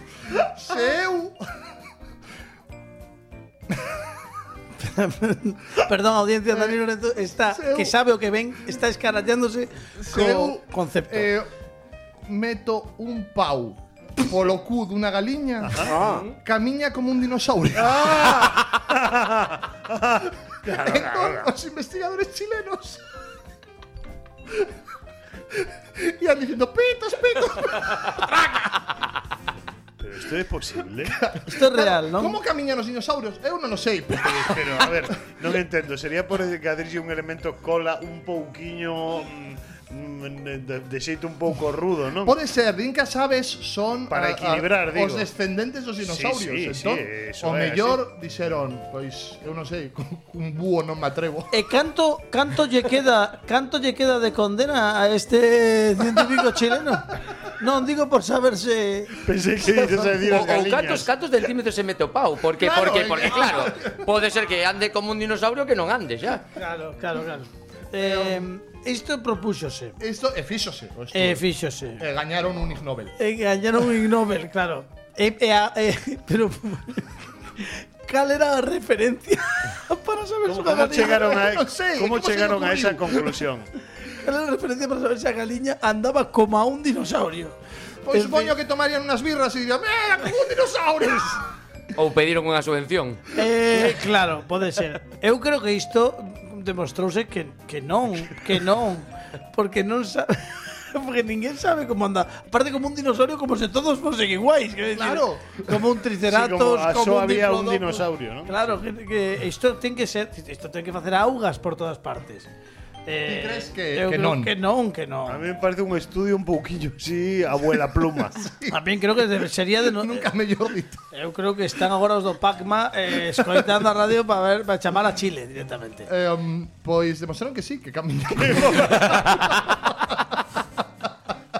Speaker 6: se eu
Speaker 2: Perdón, audiencia, Dani Lorenzo está
Speaker 6: seu-
Speaker 2: que sabe o que ven, está escarallándose co
Speaker 6: eu,
Speaker 2: concepto.
Speaker 6: eh, meto un pau polo cu dunha galiña
Speaker 9: Ah,
Speaker 6: camiña como un dinosaurio.
Speaker 4: Ah.
Speaker 6: (laughs) entón, os investigadores chilenos (laughs) iban dicindo pitos, pitos.
Speaker 4: Pero esto es posible.
Speaker 2: Isto é real, non?
Speaker 6: Como camiñan os dinosaurios? Eh, Eu non o sei. pero
Speaker 4: Pero, a ver, non entendo. Sería por encadirse un elemento cola un pouquiño mm, mm, de, de xeito un pouco rudo, non?
Speaker 6: Pode ser, din que as aves son ah,
Speaker 4: Para equilibrar,
Speaker 6: os
Speaker 4: digo.
Speaker 6: descendentes dos dinosaurios.
Speaker 4: Sí, sí, sí,
Speaker 6: entón,
Speaker 4: eso
Speaker 6: o
Speaker 4: é,
Speaker 6: pues, mellor dixeron, pois, eu non (laughs) sei, cun cun búho non me atrevo.
Speaker 2: E canto canto lle queda, canto lle queda de condena a este científico chileno? Non digo por saberse
Speaker 4: Pensei que dices a decir as
Speaker 5: O, o
Speaker 4: galiñas.
Speaker 5: cantos, cantos centímetros se mete o pau Porque,
Speaker 6: Claro,
Speaker 5: porque,
Speaker 6: eh,
Speaker 5: porque, claro Pode ser que ande como un dinosaurio que non ande xa
Speaker 2: Claro, claro, claro. Eh, isto propúxose.
Speaker 6: Isto e fíxose. o estudo.
Speaker 2: E fíxose.
Speaker 6: E gañaron un Ig Nobel.
Speaker 2: E gañaron un Ig Nobel, claro. E, e, a- e, (laughs) pero cal era a referencia (laughs) para saber se
Speaker 4: Como,
Speaker 2: unha
Speaker 4: como
Speaker 2: galiña-
Speaker 4: chegaron a, e-
Speaker 6: Non sei,
Speaker 4: como
Speaker 6: como se
Speaker 4: chegaron a
Speaker 6: me
Speaker 4: esa
Speaker 6: ocurriu?
Speaker 4: conclusión?
Speaker 2: Cal era a referencia para saber se a galiña andaba como a un dinosaurio.
Speaker 6: Pois
Speaker 2: En fin.
Speaker 6: supoño Pues que tomarían unas birras e dirían, "Mira, como un
Speaker 4: (laughs)
Speaker 6: dinosaurio."
Speaker 5: Ou pediron unha subvención
Speaker 2: Eh, claro, pode ser. Eu creo que isto demostrouse que, que non, que non, porque non sabe (laughs) porque ninguén sabe como anda. Aparte como un dinosaurio como se todos fosen iguais, quero dicir,
Speaker 6: Claro.
Speaker 2: como un triceratops,
Speaker 4: Sí, como a
Speaker 2: como,
Speaker 4: só había un
Speaker 2: diplodocus.
Speaker 4: dinosaurio, non?
Speaker 2: Claro, que, que isto ten que ser, isto ten que facer augas por todas partes. Eh,
Speaker 6: Ti crees que-
Speaker 2: eu
Speaker 6: que
Speaker 2: creo
Speaker 6: non?
Speaker 2: Que non, que non.
Speaker 4: A mí me parece un estudio un pouquiño así, abuela pluma.
Speaker 2: Tamén creo que debe- sería
Speaker 4: (laughs)
Speaker 2: de no,
Speaker 6: (laughs) Nunca mellor dito.
Speaker 2: Eu creo que están agora os do Pacma eh, escoitando a radio para ver para chamar a Chile directamente.
Speaker 6: Eh, um, pois demostraron que sí, que camiñan.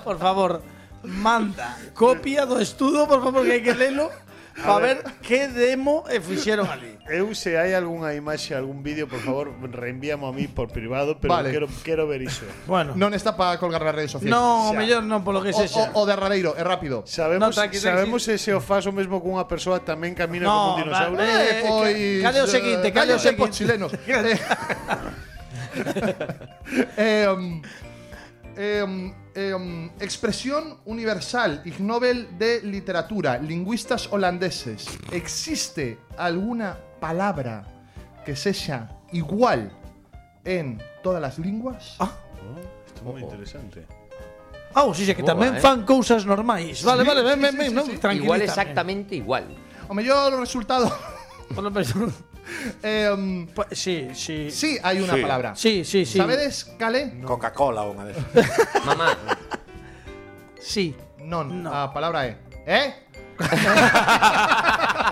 Speaker 2: Por favor, manda copia do estudo, por favor, que hai que lelo para ver que demo e fixeron ali.
Speaker 4: Eu se hai algunha imaxe, algún vídeo, por favor, reenvíame a mí por privado, pero
Speaker 6: Vale.
Speaker 4: quero quero ver iso.
Speaker 2: Bueno, no,
Speaker 6: non está para colgar nas redes sociais.
Speaker 2: no mellor non polo que
Speaker 6: O,
Speaker 2: sexa.
Speaker 6: o, o de Rabeiro, é rápido.
Speaker 2: No,
Speaker 4: Sabemos,
Speaker 2: tranqui, tranqui.
Speaker 4: sabemos se se o faz o mesmo cunha persoa tamén camina
Speaker 2: No,
Speaker 4: como un dinosaurio.
Speaker 2: vale. Eh, ca- cale o
Speaker 6: eh,
Speaker 2: seguinte, cale o
Speaker 6: cállense,
Speaker 2: seguinte.
Speaker 6: pos
Speaker 2: (laughs)
Speaker 6: chilenos. Eh, eh, (laughs) um, eh, um, eh, um, expresión universal, Ig Nobel de literatura, lingüistas holandeses. ¿Existe alguna palabra que sea igual en todas las lenguas?
Speaker 4: Isto é moi interesante.
Speaker 2: Ah, oh, si sí, que
Speaker 5: Boa,
Speaker 2: tamén
Speaker 5: eh.
Speaker 2: fan cousas normais. Vale, vale, ben,
Speaker 6: sí,
Speaker 2: ben,
Speaker 6: sí,
Speaker 2: ben,
Speaker 6: sí,
Speaker 2: non,
Speaker 6: sí.
Speaker 5: Igual
Speaker 2: tranquilízame.
Speaker 5: exactamente igual
Speaker 6: O mejor (laughs) resultado.
Speaker 2: Polo menos-
Speaker 6: eh, um,
Speaker 2: Pa- Pues, sí, sí.
Speaker 6: sí, hay una
Speaker 9: Sí.
Speaker 6: palabra.
Speaker 2: Sí, sí, sí.
Speaker 6: ¿Sabes, Cale?
Speaker 9: Coca-Cola unha desas.
Speaker 2: (laughs)
Speaker 5: Mamá
Speaker 2: Sí.
Speaker 6: No,
Speaker 2: No.
Speaker 6: la palabra es. ¿Eh?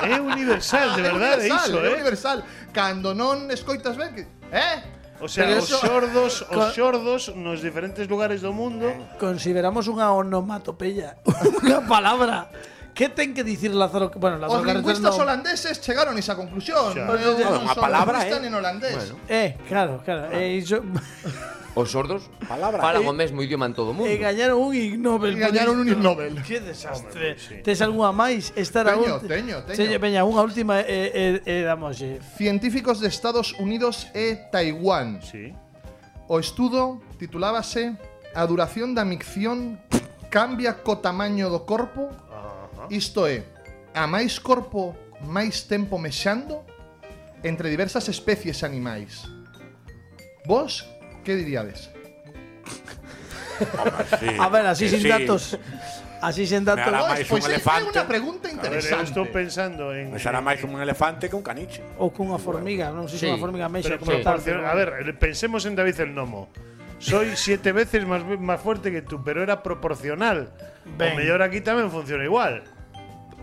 Speaker 4: É universal,
Speaker 2: (laughs)
Speaker 4: de
Speaker 6: É
Speaker 4: verdade, é
Speaker 6: universal,
Speaker 4: iso,
Speaker 6: é
Speaker 4: eh?
Speaker 6: universal. Cando non escoitas ben, que- eh?
Speaker 4: O sea,
Speaker 2: Pero
Speaker 4: os
Speaker 2: eso-
Speaker 4: xordos,
Speaker 2: Co- Eh,
Speaker 4: os xordos nos diferentes lugares do mundo
Speaker 2: Consideramos unha onomatopeya, (laughs) unha palabra. Que ten que dicir Lázaro? Bueno,
Speaker 6: Os
Speaker 2: Lázaro Carreter
Speaker 6: lingüistas
Speaker 2: non.
Speaker 6: holandeses chegaron a esa conclusión.
Speaker 4: Xa.
Speaker 6: Eu
Speaker 2: Bueno,
Speaker 6: non
Speaker 9: unha
Speaker 6: son
Speaker 9: palabra,
Speaker 2: E.
Speaker 6: lingüista
Speaker 9: eh.
Speaker 6: nin holandés.
Speaker 2: Eh, claro, claro. Eh, iso,
Speaker 5: Os sordos
Speaker 9: Palabra.
Speaker 5: falan o mesmo idioma en todo o mundo
Speaker 2: e gañaron un Ig Nobel.
Speaker 6: E gañaron
Speaker 2: por
Speaker 6: un
Speaker 2: isto.
Speaker 6: Ig Nobel.
Speaker 2: Que desastre. Tes algunha máis? Esta era
Speaker 6: Teño,
Speaker 2: ulti-
Speaker 6: teño, teño.
Speaker 2: Señor, veña, unha última e, e, e damoslle.
Speaker 6: Científicos de Estados Unidos e Taiwán.
Speaker 4: Sí.
Speaker 6: O estudo titulábase A duración da micción cambia co tamaño do corpo. Isto é, a máis corpo, máis tempo mexando entre diversas especies animais. Vos, que diríades?
Speaker 9: Sí.
Speaker 2: A ver, así sin
Speaker 9: Sí.
Speaker 2: datos. Así sin datos.
Speaker 9: Nada
Speaker 6: Pois-
Speaker 9: máis
Speaker 6: pois
Speaker 9: un
Speaker 6: é-
Speaker 9: elefante.
Speaker 6: É unha pregunta
Speaker 4: A ver, eu
Speaker 6: interesante.
Speaker 4: estou pensando en
Speaker 10: Pues
Speaker 9: Pois era máis como un elefante que un caniche.
Speaker 2: Ou cunha formiga, non sei se
Speaker 5: Sí.
Speaker 2: unha formiga mexa
Speaker 4: Pero
Speaker 2: como tal. pero
Speaker 4: proporcion- a
Speaker 2: bueno.
Speaker 4: ver, pensemos en David el Nomo. soy siete veces más, más fuerte que tú, pero era proporcional.
Speaker 2: Ben.
Speaker 4: O mellor aquí tamén funciona igual.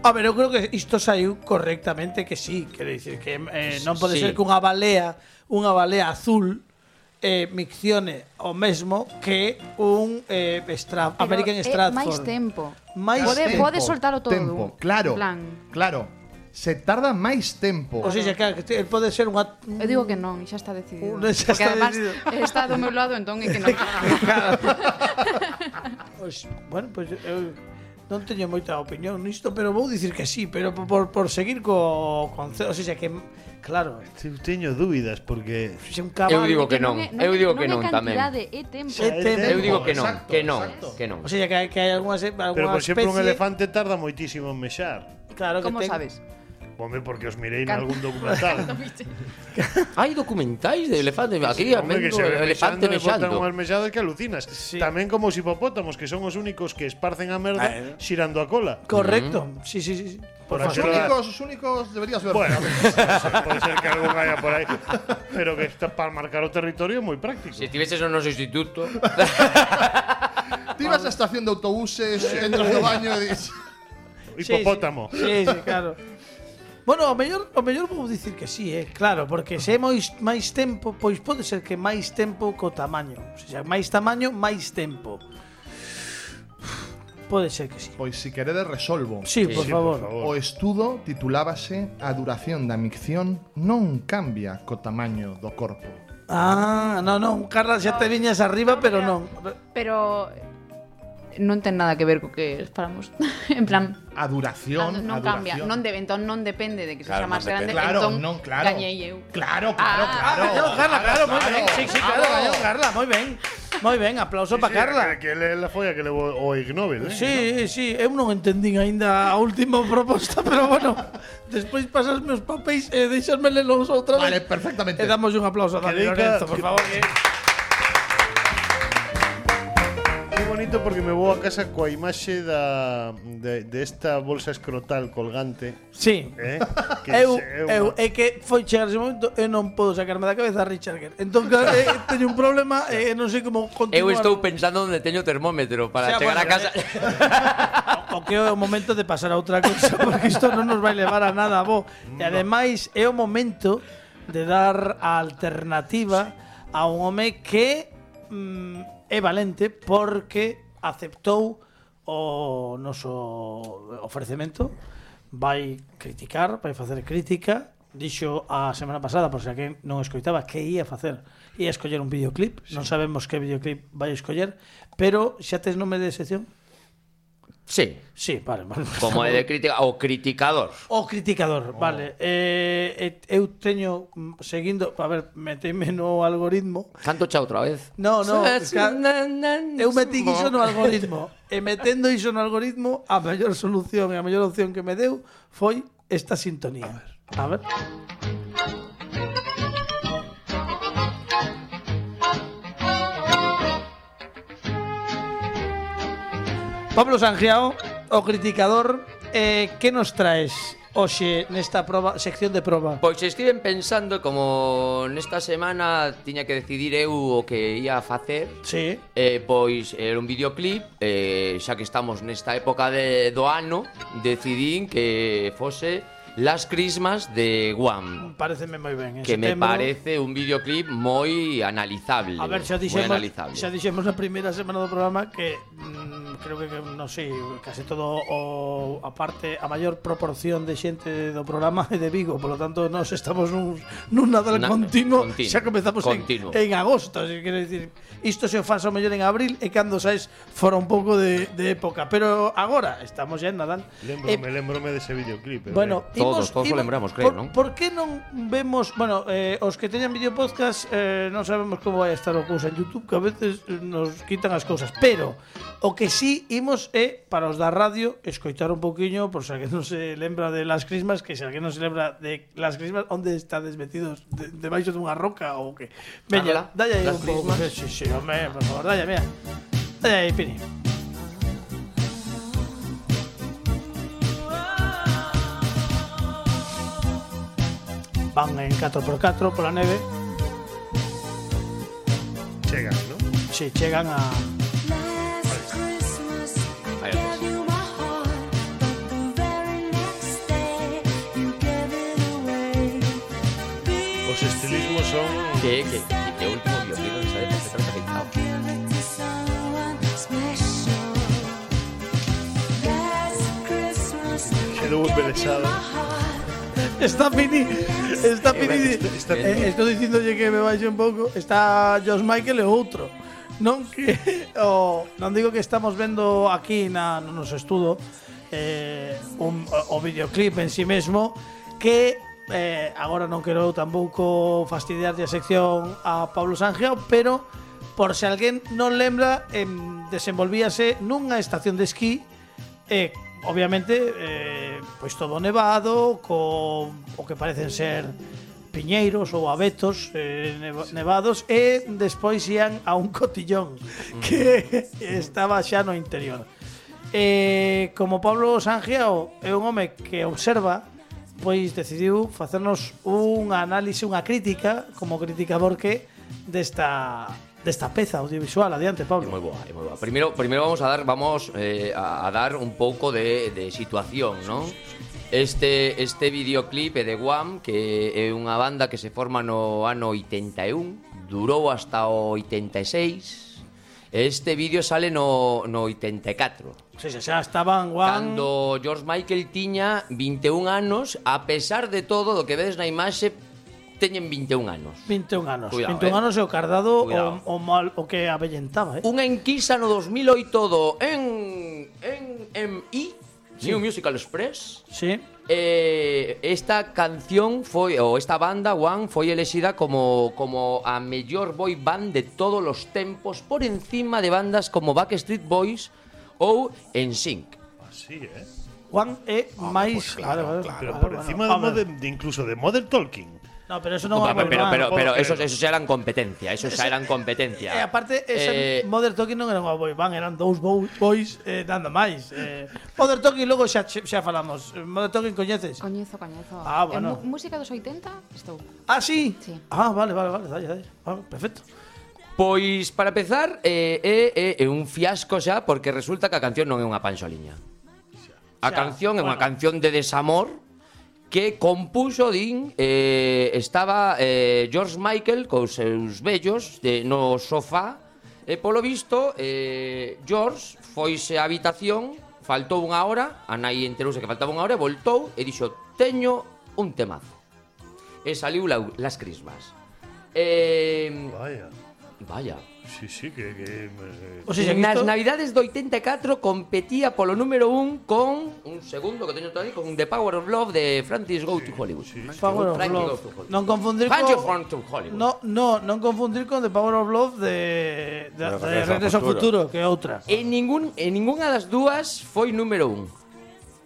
Speaker 2: A ver, eu creo que isto saiu correctamente que sí, quero dicir que eh, non pode
Speaker 5: Sí.
Speaker 2: ser que unha balea, unha balea azul eh, miccione o mesmo que un eh, Stra
Speaker 3: Pero
Speaker 2: American
Speaker 5: eh,
Speaker 3: é
Speaker 2: Stratford.
Speaker 3: máis tempo.
Speaker 2: Máis
Speaker 3: Pode-
Speaker 2: tempo.
Speaker 3: pode soltalo todo.
Speaker 6: Tempo,
Speaker 3: En
Speaker 6: claro.
Speaker 3: plan.
Speaker 6: Claro. Se tarda máis tempo.
Speaker 2: O sea, claro, que te- pode ser unha
Speaker 3: Eu digo que non, xa está decidido.
Speaker 2: Unha xa
Speaker 3: Porque
Speaker 2: está
Speaker 3: además
Speaker 2: decidido.
Speaker 3: está do meu lado, entón é que non.
Speaker 2: Pois, bueno, pois eu non teño moita opinión nisto, pero vou dicir que sí, pero po- por, por seguir co concepto, o sea, que claro,
Speaker 4: Eu teño dúbidas porque
Speaker 2: se un
Speaker 5: Eu
Speaker 2: cabalo.
Speaker 5: digo que non.
Speaker 3: é-
Speaker 5: Eu
Speaker 3: é-
Speaker 5: digo que non
Speaker 3: é
Speaker 5: tamén.
Speaker 3: cantidade, é tempo.
Speaker 2: É tempo.
Speaker 5: Eu digo que non,
Speaker 6: Exacto,
Speaker 5: que non,
Speaker 6: exacto.
Speaker 5: que non.
Speaker 2: O sea, que hai, que hai algunhas algunha
Speaker 4: Pero por exemplo un
Speaker 2: especie-
Speaker 4: elefante tarda moitísimo en mexar.
Speaker 2: Claro que
Speaker 3: Como
Speaker 2: ten-
Speaker 3: sabes?
Speaker 4: Home, porque os mirei
Speaker 3: Can-
Speaker 4: nalgún documental.
Speaker 5: Hai documentais de elefantes aquí,
Speaker 4: Home, que
Speaker 5: amendo,
Speaker 4: se ve
Speaker 5: elefante
Speaker 4: mexando e botan
Speaker 5: mexando.
Speaker 4: unhas mexadas que alucinas.
Speaker 2: Sí.
Speaker 4: Tamén como os hipopótamos, que son os únicos que esparcen a merda
Speaker 9: Ah, eh.
Speaker 4: xirando a cola.
Speaker 2: Correcto. Sí, sí, sí. sí. Por favor.
Speaker 4: Por
Speaker 6: Los
Speaker 4: Pero-
Speaker 6: únicos, los únicos deberías ver.
Speaker 2: (laughs)
Speaker 4: Bueno, pode ser que algún haya por aí. Pero que está para marcar o territorio é moi práctico.
Speaker 5: Se tiveses no noso instituto,
Speaker 6: Te ibas a la estación de autobuses, entras no baño y dices.
Speaker 4: Hipopótamo.
Speaker 2: Sí, sí, sí, claro. Bueno, o mellor, o mellor vou dicir que sí, eh, claro, porque se é mois, máis tempo, pois pode ser que máis tempo co tamaño. O sea, máis tamaño, máis tempo. Pode ser que sí.
Speaker 6: Pois si queredes resolvo.
Speaker 2: Sí, por
Speaker 4: Sí,
Speaker 2: favor.
Speaker 6: O estudo titulábase A duración da micción non cambia co tamaño do corpo.
Speaker 2: Ah, non, non, Carla, xa te viñas arriba, pero non.
Speaker 3: (laughs) Pero non ten nada que ver co que esperamos. (laughs) en plan,
Speaker 6: A duración,
Speaker 3: non
Speaker 6: a
Speaker 3: cambia,
Speaker 6: duración.
Speaker 3: non debe, entón non depende de que
Speaker 9: Claro,
Speaker 3: sexa máis
Speaker 9: non depende.
Speaker 3: grande,
Speaker 6: Claro,
Speaker 3: entón
Speaker 6: non, claro.
Speaker 3: gañei eu.
Speaker 6: Claro, claro,
Speaker 3: Ah,
Speaker 6: claro.
Speaker 2: Gañou Carla, claro, moi ben. Sí, sí, eh, claro,
Speaker 6: Bravo.
Speaker 2: gañou Carla, moi ben. Moi ben, aplauso para Carla.
Speaker 4: Que, que le, la folla que le vo- o ignobel, eh?
Speaker 2: Sí, sí, eu non entendín aínda a última proposta, (laughs) pero bueno, despois pasas meus papéis e deixasme lelos outra vez.
Speaker 6: Vale, perfectamente.
Speaker 2: E damos un aplauso a Dani
Speaker 4: Quedei ca-
Speaker 2: Lorenzo, por favor. Que...
Speaker 4: Qué bonito porque me vou a casa coa imaxe da, de, de esta bolsa escrotal colgante.
Speaker 2: Sí. (laughs)
Speaker 4: Eh? Que
Speaker 2: Eu,
Speaker 4: se- é
Speaker 2: eu,
Speaker 4: unha-
Speaker 2: é que foi chegar ese momento e non podo sacarme da cabeza a Richard Gere. Entón, claro, eh, teño un problema e non sei como continuar.
Speaker 5: eu estou pensando onde teño
Speaker 2: O
Speaker 5: termómetro para
Speaker 2: sea,
Speaker 5: chegar a
Speaker 2: bueno,
Speaker 5: casa.
Speaker 2: O que é o momento de pasar a outra cousa (laughs) porque isto non nos vai levar a nada, bo. E ademais é o momento de dar a alternativa a un home que mm, é valente porque aceptou o noso ofrecemento, vai criticar, vai facer crítica, dixo a semana pasada, por se a quen non escoitaba, que ia facer. Ia escoller un videoclip, sí. non sabemos que videoclip vai escoller, pero xa tes nome de sección?
Speaker 5: (laughs) Sí,
Speaker 2: Sí, vale, vale.
Speaker 5: como é de crítica o criticador.
Speaker 2: O criticador, vale. Eh, eh, eu teño mm, seguindo, a ver, meteme no algoritmo.
Speaker 5: Canto xa outra vez.
Speaker 2: No, no,
Speaker 5: (laughs)
Speaker 2: ca- Eu
Speaker 5: Eu
Speaker 2: metín iso (laughs) no algoritmo. E metendo iso no algoritmo, a mellor solución e a mellor opción que me deu foi esta sintonía. A ver. Pablo Sangiao, o criticador, eh, que nos traes hoxe nesta proba, sección de proba?
Speaker 5: Pois estiven pensando como nesta semana tiña que decidir eu o que ia facer.
Speaker 2: Sí.
Speaker 5: Eh, pois era un videoclip eh, Xa que estamos nesta época de, do ano Decidín que fose Las Crismas de Guam
Speaker 2: Pareceme moi ben. eh, en
Speaker 5: Que me
Speaker 2: setembro.
Speaker 5: parece un videoclip moi analizable
Speaker 2: A ver, xa
Speaker 5: moi
Speaker 2: dixemos,
Speaker 5: analizable.
Speaker 2: xa dixemos na primeira semana do programa que mm, creo que, que non sei, case todo o a parte a maior proporción de xente do programa é de Vigo, por lo tanto nós estamos nun nun Nadal
Speaker 5: Na-
Speaker 2: continuo,
Speaker 5: continuo,
Speaker 2: xa comezamos
Speaker 5: continuo.
Speaker 2: En, en agosto, así que quero dicir, isto se o faz o mellor en abril e cando saes fora un pouco de, de época, pero agora estamos xa en Nadal. Eh,
Speaker 4: Lembrome, lembrome de ese videoclip. eh,
Speaker 2: Bueno,
Speaker 5: Todos, todos o lembramos, creo,
Speaker 2: por,
Speaker 5: non?
Speaker 2: Por que non vemos, bueno, eh, os que teñan videopodcast eh, non sabemos como vai estar o cousa en YouTube, que a veces eh, nos quitan as cousas, pero o que sí imos é para os da radio escoitar un pouquiño, por se alguén non se lembra de las crismas, que se alguén non se lembra de las crismas, onde estades metidos de, debaixo dunha roca ou que. Veña,
Speaker 5: Carla,
Speaker 2: dalle aí un
Speaker 5: Las
Speaker 2: pouco.
Speaker 5: Crismas.
Speaker 2: Sí, sí, home, por favor, dalle, mira. Dalle aí, Pini. Van en 4x4 pola neve.
Speaker 4: Chega, ¿no?
Speaker 2: Sí, llegan a.
Speaker 4: Los estilismos son.
Speaker 5: Que, que, que, que último violino de esa época está perfectado.
Speaker 4: Quedó embelesado.
Speaker 2: Está Pini. Está Pini.
Speaker 4: está
Speaker 2: eh,
Speaker 4: Pini.
Speaker 2: estou dicindo que me baixe un pouco. Está Josh Michael e outro. Non que (laughs) o, non digo que estamos vendo aquí na no noso estudo eh, un, o o videoclip en si sí mesmo que eh, agora non quero tampouco fastidiarlle a sección a Pablo Sanjeo, pero por se alguén non lembra, em, desenvolvíase nunha estación de esquí E, obviamente, eh, pois todo nevado, co o que parecen ser piñeiros ou abetos eh, neva- nevados e despois ían a un cotillón
Speaker 5: Mm.
Speaker 2: que (laughs) estaba xa no interior. Eh, como Pablo Sangiao é un home que observa, pois decidiu facernos unha análise, unha crítica, como criticador que desta desta peza audiovisual. Adiante,
Speaker 5: É moi
Speaker 2: Pablo.
Speaker 5: boa, é moi boa. Primeiro, primeiro vamos a dar vamos eh, a, a dar un pouco de, de situación, non? Este este videoclip é de Guam, que é unha banda que se forma no ano 81, durou hasta o 86. Este vídeo sale no, no 84.
Speaker 2: Sí, sí, xa estaban guan.
Speaker 5: Cando George Michael tiña 21 anos, a pesar de todo do que vedes na imaxe, teñen 21 anos.
Speaker 2: 21 anos.
Speaker 5: Cuidado,
Speaker 2: 21
Speaker 5: eh.
Speaker 2: anos e o cardado
Speaker 5: Cuidado.
Speaker 2: o, o, mal, o que avellentaba, eh.
Speaker 5: Unha enquisa no 2008 do en en MI New Musical Express.
Speaker 2: Sí.
Speaker 5: Eh, esta canción foi ou esta banda One foi elexida como como a mellor boy band de todos os tempos por encima de bandas como Backstreet Boys ou NSYNC.
Speaker 4: Así, ¿eh? Ah,
Speaker 2: Juan é máis, claro, claro,
Speaker 4: Pero
Speaker 2: claro,
Speaker 4: por
Speaker 2: bueno,
Speaker 4: encima
Speaker 2: a ver.
Speaker 4: de, modern- de incluso de Modern Talking.
Speaker 2: No, pero eso non
Speaker 5: Pero,
Speaker 2: va Eh, a
Speaker 5: pero, pero,
Speaker 4: no
Speaker 5: pero
Speaker 4: puedo
Speaker 5: esos,
Speaker 4: creerlo.
Speaker 5: esos xa eran competencia, esos xa eran competencia.
Speaker 2: E aparte, ese
Speaker 5: Eh,
Speaker 2: Mother Talking non era unha boy band, eran dous bo- boys eh, nada máis. Eh, Mother Talking logo xa, xa falamos. Eh, Mother Talking coñeces?
Speaker 3: Coñezo, coñezo.
Speaker 2: Ah,
Speaker 3: Eh,
Speaker 2: bueno.
Speaker 3: mu- música dos 80, estou.
Speaker 2: Ah, sí?
Speaker 3: Sí.
Speaker 2: Ah, vale, vale, vale, dalle, dalle. Vale, perfecto.
Speaker 5: Pois, para empezar, é eh, eh, eh, un fiasco xa porque resulta que a canción non é unha panxoliña. A
Speaker 2: Xa,
Speaker 5: canción é
Speaker 2: bueno.
Speaker 5: unha canción de desamor que compuxo din eh, estaba eh, George Michael cos seus vellos de, no sofá e polo visto eh, George foise á habitación faltou unha hora a nai enterouse que faltaba unha hora e voltou e dixo teño un temazo e saliu la, las crismas eh,
Speaker 4: Vaya.
Speaker 5: Vaya.
Speaker 4: Sí, sí, que. que eh,
Speaker 2: O sea, xa que
Speaker 5: Nas
Speaker 2: isto-
Speaker 5: navidades do 84 competía polo número 1 con un segundo que teño todavía con The Power of Love de Francis Go to Hollywood.
Speaker 2: Power of
Speaker 5: Frankie
Speaker 2: Love.
Speaker 5: Goes to Hollywood.
Speaker 2: Non confundir
Speaker 5: Frankie
Speaker 2: co-
Speaker 5: Goes to Hollywood.
Speaker 2: No, no, non confundir con The Power of Love de,
Speaker 9: De
Speaker 2: de, de, de
Speaker 9: Regreso al
Speaker 2: Regreso ao
Speaker 9: Futuro.
Speaker 2: Futuro, que é outra.
Speaker 5: En ningún en ningunha das dúas foi número 1.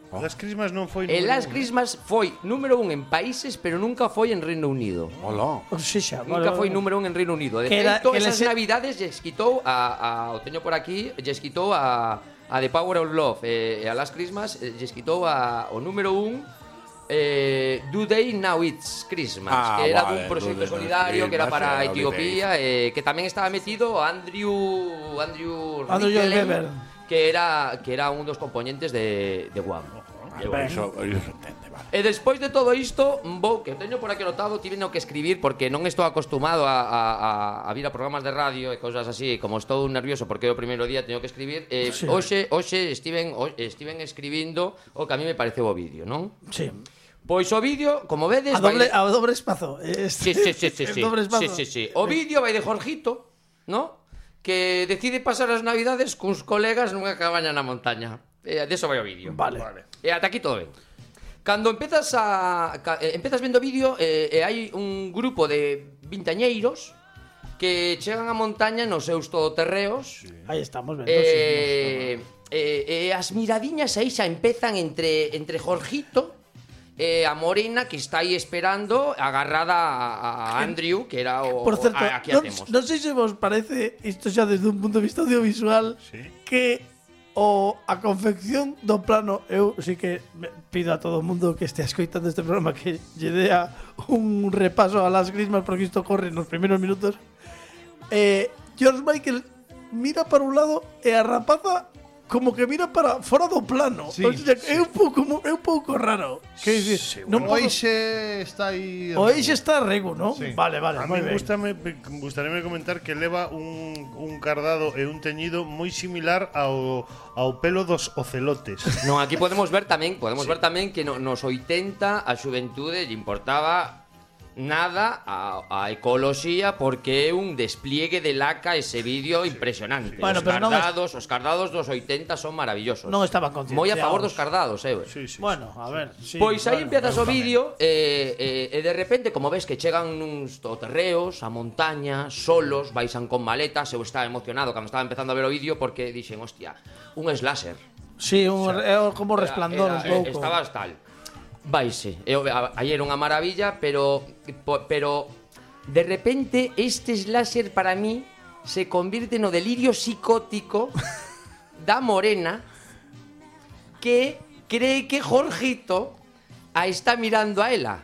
Speaker 4: Las Crismas non foi.
Speaker 5: E
Speaker 4: ningún-
Speaker 5: Las Christmas foi número 1 en países, pero nunca foi en Reino Unido.
Speaker 9: Hola.
Speaker 2: Sí, xa,
Speaker 5: Nunca
Speaker 2: vale,
Speaker 5: foi
Speaker 2: vale.
Speaker 5: número 1 en Reino Unido. De
Speaker 2: Que era- que
Speaker 5: feito, esas
Speaker 2: les-
Speaker 5: navidades lles quitou a, a o teño por aquí, lles quitou a a The Power of Love eh, e a Last Christmas eh, lles quitou a o número 1 eh, Do They Now It's Christmas
Speaker 9: Ah,
Speaker 5: que era
Speaker 9: vale,
Speaker 5: dun proxecto
Speaker 9: Do They Now It's
Speaker 5: solidario que era
Speaker 9: Christmas,
Speaker 5: para
Speaker 9: era
Speaker 5: Etiopía eh, que tamén estaba metido Andrew Andrew,
Speaker 2: Andrew Lloyd
Speaker 5: Ridgeley,
Speaker 2: Webber.
Speaker 5: que era que era un dos componentes de de Wham. De Wham.
Speaker 9: Eso, eso entende, vale.
Speaker 5: E despois de todo isto, vou que teño por aquí anotado, tiveno que escribir porque non estou acostumado a, a, a, a vir a programas de radio e cousas así, como estou nervioso porque é o primeiro día teño que escribir. Eh,
Speaker 2: Sí.
Speaker 5: hoxe, hoxe estiven, ho- estiven escribindo o que a mí me pareceu o vídeo, non?
Speaker 2: Sí.
Speaker 5: Pois o vídeo, como vedes,
Speaker 2: A doble,
Speaker 5: vai de-
Speaker 2: a dobre espazo. eh, Este,
Speaker 5: Sí, sí, sí, sí,
Speaker 2: (laughs) el
Speaker 5: sí.
Speaker 2: dobre espazo.
Speaker 5: sí, sí, sí. O vídeo vai de Jorgito, ¿no? Que decide pasar as navidades cuns colegas nunha cabaña na montaña. Eh, de eso vai o vídeo.
Speaker 2: Vale.
Speaker 5: E ata aquí todo ben. Cando empezas a ca- eh, empezas vendo o vídeo eh, e hai un grupo de vintañeiros que chegan á montaña nos seus todoterreos. Sí.
Speaker 2: Ahí estamos, vendo, sí.
Speaker 5: Eh, eh, eh, as miradiñas aí xa empezan entre entre Jorgito e a Morena que está aí esperando agarrada a, a Andrew, que era o
Speaker 2: Por certo,
Speaker 5: a, a que
Speaker 2: non,
Speaker 5: atemos.
Speaker 2: non sei se vos parece isto xa desde un punto de vista audiovisual
Speaker 4: Sí.
Speaker 2: que o a confección do plano eu sí que me- pido a todo o mundo que estea escoitando este programa que lle dea un repaso a las grismas porque isto corre nos primeiros minutos eh, George Michael mira para un lado e a rapaza como que mira para fora do plano.
Speaker 6: Sí,
Speaker 2: o sea, que é un pouco mo- é un pouco raro. Que dicir, non
Speaker 6: Bueno, hoy
Speaker 2: podo,
Speaker 6: se está ahí.
Speaker 2: hoy se está rego, non?
Speaker 6: Sí.
Speaker 2: Vale, vale,
Speaker 4: A mí
Speaker 2: moi ben.
Speaker 4: gustame, gustaríame comentar que leva un, un cardado e un teñido moi similar ao, ao pelo dos ocelotes.
Speaker 5: (laughs) No, aquí podemos ver tamén, podemos ver tamén que no, nos 80 a xuventude lle importaba nada a, a ecoloxía porque é un despliegue de laca ese vídeo impresionante.
Speaker 2: Bueno,
Speaker 5: os
Speaker 2: pero non es-
Speaker 5: cardados, os cardados dos 80 son maravillosos.
Speaker 2: Non estaban concienciados.
Speaker 5: Moi a favor dos cardados, eh.
Speaker 4: Sí, sí.
Speaker 2: Bueno, a ver, sí,
Speaker 5: pois aí
Speaker 2: bueno,
Speaker 5: empiezas
Speaker 2: eu
Speaker 5: o
Speaker 2: tamén.
Speaker 5: vídeo e, e, e de repente, como ves que chegan uns toterreos a montaña, solos, baixan con maletas, eu estaba emocionado cando estaba empezando a ver o vídeo porque dixen, hostia, un slasher.
Speaker 2: Sí, un, é como
Speaker 5: Era-
Speaker 2: resplandor un
Speaker 5: era-
Speaker 2: pouco.
Speaker 5: Estabas tal. Vaise. E, o- a- Aí era unha maravilla, pero po- pero de repente este slasher para mí se convirte no delirio psicótico da morena que cree que Jorgito a está mirando a ela.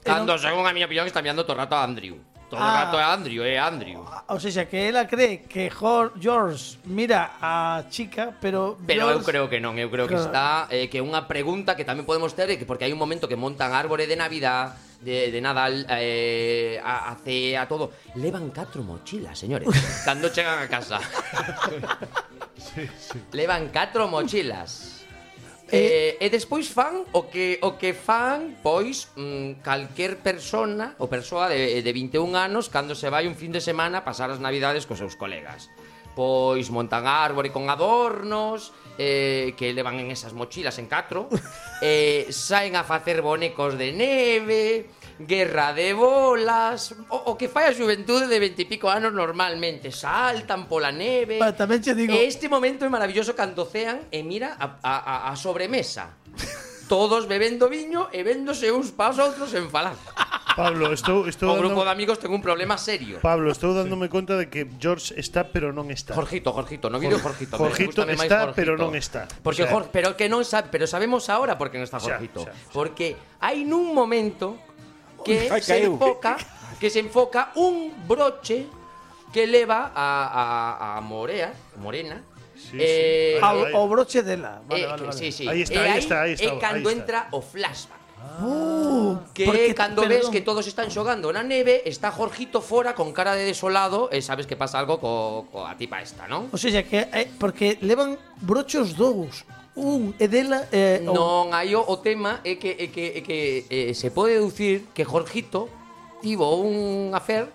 Speaker 5: Cando, según a miña opinión, está mirando todo o rato a Andrew. Todo o
Speaker 2: Ah.
Speaker 5: rato a Andrew, eh, Andrew.
Speaker 2: O sea, que ela cree que Jor- George mira a chica, pero
Speaker 5: Pero eu
Speaker 2: George-
Speaker 5: creo que non, eu creo que
Speaker 2: Claro.
Speaker 5: está eh, que é unha pregunta que tamén podemos ter é que porque hai un momento que montan árbore de Navidad, de, de Nadal, eh, a, a cea, todo. Levan catro mochilas, señores, cando chegan a casa. Levan catro mochilas. Eh, e despois fan o que o que fan pois mm, calquer persona ou persoa de, de 21 anos cando se vai un fin de semana a pasar as navidades cos seus colegas. Pois montan árbore con adornos eh, que levan en esas mochilas en catro
Speaker 2: (laughs)
Speaker 5: eh, saen a facer bonecos de neve guerra de bolas o, o que fai a xuventude de 20 e pico anos normalmente saltan pola neve
Speaker 2: Pero tamén che (laughs) digo-
Speaker 5: E este momento é maravilloso cando cean e mira a, a, a, a sobremesa. Todos bebendo viño e véndose uns paos outros en falar.
Speaker 4: Pablo, estou, estou
Speaker 5: O grupo de
Speaker 4: dando,
Speaker 5: amigos ten un problema serio.
Speaker 4: Pablo, estou dándome conta de que George está pero non está.
Speaker 5: Jorgito, Jorgito, no vídeo
Speaker 4: Jor-
Speaker 5: Jorgito.
Speaker 4: Jorgito
Speaker 5: me
Speaker 4: está,
Speaker 5: gusta máis
Speaker 4: pero non está. O
Speaker 5: Porque
Speaker 4: sea-
Speaker 5: Jor- pero que non sabe, pero sabemos ahora por que non está
Speaker 4: O sea, o
Speaker 5: Jorgito.
Speaker 4: sea, o sea.
Speaker 5: Porque hai nun momento que
Speaker 9: Ai,
Speaker 5: se
Speaker 9: caeu.
Speaker 5: enfoca que se enfoca un broche que leva a, a, a Morea, Morena,
Speaker 4: Sí, sí.
Speaker 5: eh,
Speaker 4: Ai,
Speaker 2: Ao,
Speaker 4: ai.
Speaker 2: ao broche dela. Vale,
Speaker 5: Eh,
Speaker 2: vale,
Speaker 5: que-
Speaker 2: vale.
Speaker 5: Sí, sí.
Speaker 4: Ahí está,
Speaker 5: Eh,
Speaker 4: ahí está, ahí está,
Speaker 5: É cando
Speaker 4: ahí está.
Speaker 5: entra o flashback.
Speaker 2: Uh,
Speaker 5: Que
Speaker 2: porque-
Speaker 5: cando
Speaker 2: perdón.
Speaker 5: ves que todos están xogando na neve, está Jorgito fora con cara de desolado e sabes que pasa algo co, coa tipa esta, non?
Speaker 2: O sea, que eh, porque levan brochos dous. Un e dela eh, o-
Speaker 5: Non, aí o, o tema é que, é que, é que eh, se pode deducir que Jorgito tivo un affair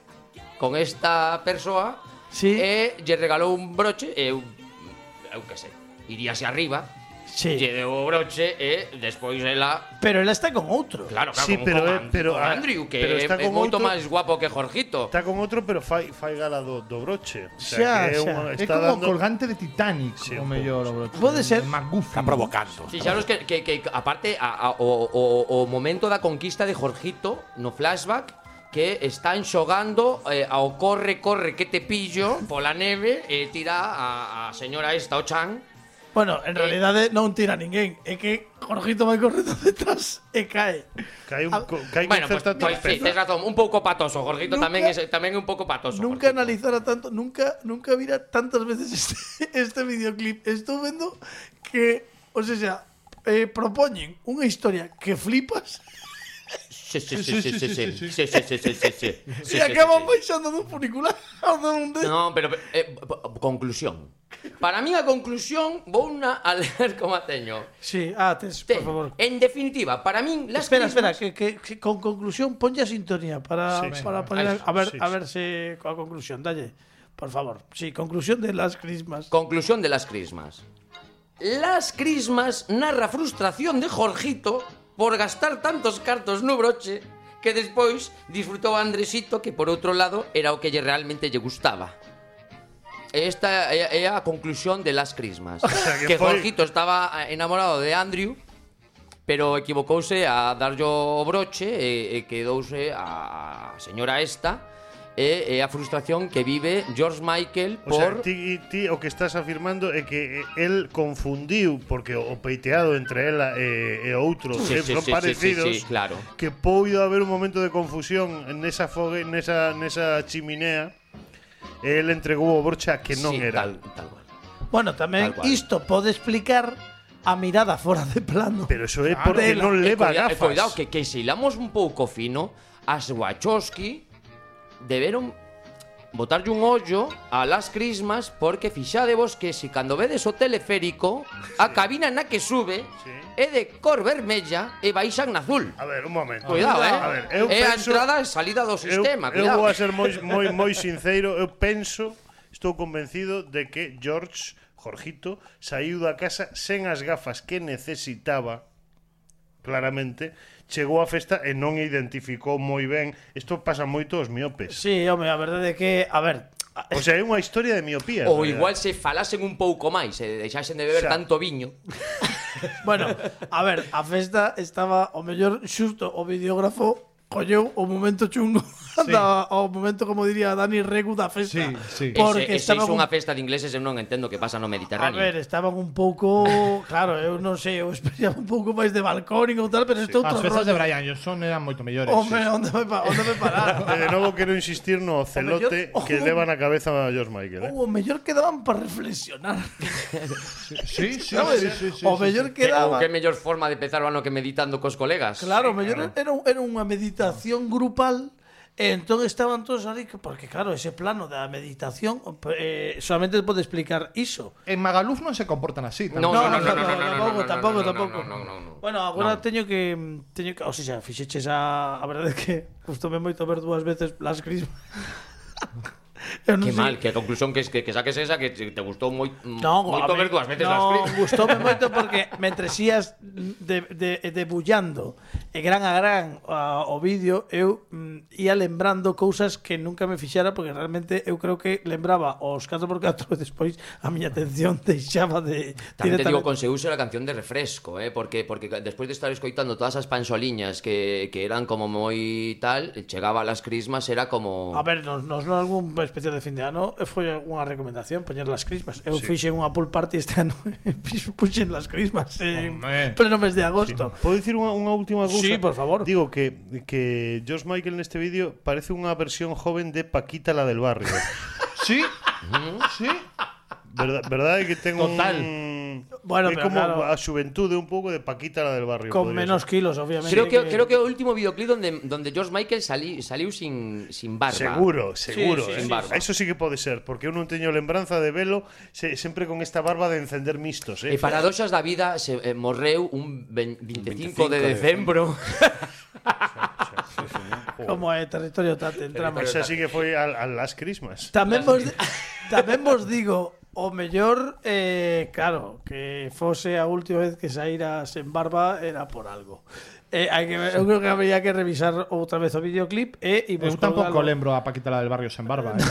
Speaker 5: con esta persoa
Speaker 2: Sí.
Speaker 5: e lle regalou un broche e eu, eu que sei, iríase arriba,
Speaker 2: Sí.
Speaker 5: lle deu o broche e despois ela
Speaker 2: Pero ela está con outro.
Speaker 5: Claro, claro,
Speaker 4: Sí,
Speaker 5: con,
Speaker 4: pero
Speaker 5: con
Speaker 4: é-
Speaker 5: And-
Speaker 4: pero
Speaker 5: con
Speaker 4: a-
Speaker 5: Andrew, que
Speaker 4: pero está
Speaker 5: é, é
Speaker 4: con
Speaker 5: moito
Speaker 4: outro-
Speaker 5: máis guapo que Jorgito.
Speaker 4: Está con outro, pero fai, fai gala do, do broche. O
Speaker 2: Xa,
Speaker 4: sea, que é
Speaker 2: xa.
Speaker 4: unha-
Speaker 6: Es
Speaker 4: está
Speaker 6: como
Speaker 4: dando...
Speaker 6: colgante de Titanic,
Speaker 4: Sí,
Speaker 6: o
Speaker 4: un
Speaker 6: mellor, o broche.
Speaker 2: Pode ser.
Speaker 6: MacGuffin.
Speaker 9: Está provocando.
Speaker 5: Fixaros que, que, que aparte, a, a, o, o, o momento da conquista de Jorgito no flashback, que están xogando eh, ao corre, corre, que te pillo pola neve e tira a, a señora esta, o Chan,
Speaker 2: Bueno, en
Speaker 5: Eh.
Speaker 2: realidade non tira ninguén. É que Jorgito vai correndo (laughs) detrás e cae.
Speaker 4: Que hai un,
Speaker 6: Ah,
Speaker 4: co- que hai
Speaker 5: Bueno,
Speaker 4: con
Speaker 5: pues,
Speaker 4: certa
Speaker 5: pues,
Speaker 4: torpeza.
Speaker 5: sí, tens razón, un pouco patoso, Jorgito
Speaker 2: Nunca-
Speaker 5: tamén é tamén é un pouco patoso.
Speaker 2: Nunca
Speaker 5: Jorgito.
Speaker 2: analizara tanto, nunca, nunca vira tantas veces (laughs) este, este videoclip. Estou vendo que, o sea, xa, eh, propoñen unha historia que flipas
Speaker 5: Sí, sí, sí, sí, sí, sí, sí, sí, sí, sí, sí,
Speaker 4: (laughs)
Speaker 5: sí.
Speaker 2: e
Speaker 5: Sí, sí,
Speaker 2: acaban
Speaker 5: sí.
Speaker 2: baixando dun funicular (laughs) a dun de...
Speaker 5: (laughs) No, pero eh, p- p- conclusión. Para mí a conclusión vou na a ler (laughs) como a teño.
Speaker 2: Sí, ah, tes,
Speaker 5: Te-
Speaker 2: por favor.
Speaker 5: En definitiva, para mí Eh, las
Speaker 2: espera,
Speaker 5: crismas-
Speaker 2: espera, que, que- que con conclusión ponlle a sintonía para,
Speaker 4: Sí, sí.
Speaker 2: para
Speaker 4: Venga,
Speaker 2: poner a,
Speaker 5: ahí está,
Speaker 2: a ver
Speaker 4: sí,
Speaker 2: a
Speaker 4: sí.
Speaker 2: ver si con la conclusión, dalle. Por favor. Sí, conclusión de las crismas.
Speaker 5: Conclusión de las crismas. Las crismas narra frustración de Jorgito por gastar tantos cartos no broche que despois disfrutou a Andresito que por outro lado era o que lle realmente lle gustaba. Esta é é a conclusión de las crismas.
Speaker 4: sea, que
Speaker 5: que
Speaker 4: foi-
Speaker 5: Jorgito estaba eh, enamorado de Andrew pero equivocouse a darlle o broche e, e quedouse a señora esta e, e a frustración que vive George Michael
Speaker 4: O sea,
Speaker 5: por
Speaker 4: ti, ti o que estás afirmando é que eh, el confundiu porque o peiteado entre ela e, e outro
Speaker 5: Sí,
Speaker 4: sí,
Speaker 5: sí,
Speaker 4: son
Speaker 5: sí, sí,
Speaker 4: parecidos
Speaker 5: sí, sí, claro.
Speaker 4: que puido haber un momento de confusión nesa fogue, nesa, nesa chiminea el entregou o Borcha que non
Speaker 5: Sí,
Speaker 4: era.
Speaker 5: Tal, tal cual.
Speaker 2: Bueno, tamén
Speaker 5: Tal cual.
Speaker 2: isto pode explicar a mirada fora de plano.
Speaker 4: Pero eso é
Speaker 2: Ah, de
Speaker 4: porque
Speaker 2: la-
Speaker 4: non
Speaker 5: E
Speaker 4: leva
Speaker 5: cuida- e
Speaker 4: gafas.
Speaker 5: Cuidado, que, que se hilamos un pouco fino, as Wachowski deberon botarlle un ollo a las crismas porque fixadevos que si cando vedes o teleférico a cabina na que sube
Speaker 4: Sí.
Speaker 5: é de cor vermella e baixan na azul.
Speaker 4: A ver, un momento.
Speaker 5: Cuidado, eh?
Speaker 4: Ah, A ver, eu
Speaker 5: é a
Speaker 4: penso-
Speaker 5: entrada e salida do sistema,
Speaker 4: eu, eu
Speaker 5: cuidado.
Speaker 4: vou a ser moi moi moi sincero, eu penso, estou convencido de que George Jorgito saiu da casa sen as gafas que necesitaba claramente, chegou á festa e non identificou moi ben. Isto pasa moito aos miopes.
Speaker 2: Sí, home, a verdade é que, a ver,
Speaker 4: O sea, é unha historia de miopía.
Speaker 5: Ou
Speaker 4: en realidad.
Speaker 5: igual se falasen un pouco máis e deixasen de beber
Speaker 4: Xa.
Speaker 5: tanto viño.
Speaker 2: bueno, a ver, a festa estaba o mellor xusto o videógrafo colleu o momento chungo (laughs)
Speaker 6: Sí.
Speaker 2: da, o momento, como diría Dani Regu, da festa.
Speaker 6: Sí, sí.
Speaker 2: Porque
Speaker 5: Porque ese, ese
Speaker 2: estaba
Speaker 5: é
Speaker 2: un-
Speaker 5: unha festa de ingleses eu non entendo que pasa no
Speaker 2: A
Speaker 5: Mediterráneo.
Speaker 2: ver, estaban un pouco, claro, eu non sei, eu esperaba un pouco máis de balcón ou tal, pero isto é outro
Speaker 6: As festas
Speaker 2: rollo.
Speaker 6: de Brian Johnson eran moito mellores.
Speaker 2: Home,
Speaker 6: sí.
Speaker 2: onde me, pa- onde me
Speaker 6: (laughs)
Speaker 2: parar?
Speaker 4: E de novo quero insistir
Speaker 2: (laughs)
Speaker 4: no celote
Speaker 2: yo- Oh.
Speaker 4: que leva na cabeza a George Michael, eh?
Speaker 2: Ou o mellor quedaban para reflexionar.
Speaker 6: Sí, sí, sí, sí, sí, sí,
Speaker 2: o
Speaker 6: sí.
Speaker 2: mellor
Speaker 5: Que, ou
Speaker 2: quedaba.
Speaker 5: que mellor forma de empezar o ano que meditando cos colegas.
Speaker 2: Claro, o mellor era, un- era unha meditación grupal e entón estaban todos ali que- porque claro, ese plano da meditación eh, solamente pode explicar iso.
Speaker 6: En Magaluf non se comportan así.
Speaker 5: No, no, no,
Speaker 6: tampouco.
Speaker 5: no, no, no,
Speaker 2: tampouco,
Speaker 5: no, no,
Speaker 2: tampouco,
Speaker 5: no, no,
Speaker 2: tampouco.
Speaker 5: no, no, no, no.
Speaker 2: Bueno, agora
Speaker 5: No.
Speaker 2: teño que teño que, o sea, fixeches a a verdade é que gustoume moito ver dúas veces Las Crismas. (laughs) Eu
Speaker 5: Que
Speaker 2: sei-
Speaker 5: mal, que a conclusión que, que, que saques esa que te gustou moi,
Speaker 2: No,
Speaker 5: moito
Speaker 2: a mí-
Speaker 5: ver dúas veces
Speaker 2: no,
Speaker 5: as cri- (laughs)
Speaker 2: gustóme moito porque mentre xías de, de, debullando e gran a gran a, o vídeo, eu mm, ia lembrando cousas que nunca me fixara porque realmente eu creo que lembraba os 4x4 e despois a miña atención deixaba de
Speaker 5: Tamén te digo,
Speaker 2: directamente-
Speaker 5: conseguiuse a canción de refresco, eh? porque porque despois de estar escoitando todas as panxoliñas que, que eran como moi tal, chegaba a las crismas, era como...
Speaker 2: A ver, nos, nos non algún especial de fin de ano e foi unha recomendación poñer las crismas. Eu sí. fixe unha pool party este ano (laughs) e puxen las crismas en
Speaker 6: Home.
Speaker 2: pleno mes de agosto.
Speaker 4: Podo dicir unha, unha última cousa?
Speaker 2: Sí, por favor.
Speaker 4: Digo que, que George Michael neste vídeo parece unha versión joven de Paquita la del barrio.
Speaker 2: (laughs)
Speaker 6: Sí, sí.
Speaker 4: Verdad, verdad é que ten
Speaker 5: Total.
Speaker 4: un...
Speaker 2: Bueno,
Speaker 4: é
Speaker 2: pero
Speaker 4: como
Speaker 2: claro.
Speaker 4: a xuventude un pouco de Paquita la del barrio.
Speaker 2: Con
Speaker 4: podría
Speaker 2: menos
Speaker 4: ser.
Speaker 2: kilos, obviamente.
Speaker 5: Creo que, creo que o último videoclip donde, donde George Michael salí, saliu sin, sin barba.
Speaker 4: Seguro, seguro.
Speaker 2: Sí, sí,
Speaker 4: eh.
Speaker 5: sin barba.
Speaker 4: Eso sí que pode ser, porque eu non teño lembranza de velo se, sempre con esta barba de encender mistos. Eh.
Speaker 5: E paradoxas da vida se eh, morreu un ven- 25, 25 de decembro.
Speaker 2: Como é territorio tate, entramos.
Speaker 4: Esa sí que foi al, al Last Christmas.
Speaker 2: Tamén vos, (laughs) tamén vos digo, o mellor, eh, claro, que fose a última vez que saíra sen barba era por algo. Eh, hai que, eu creo que habría que revisar outra vez o videoclip e eh,
Speaker 6: Eu tampouco lembro a Paquita la del barrio sen barba. eh.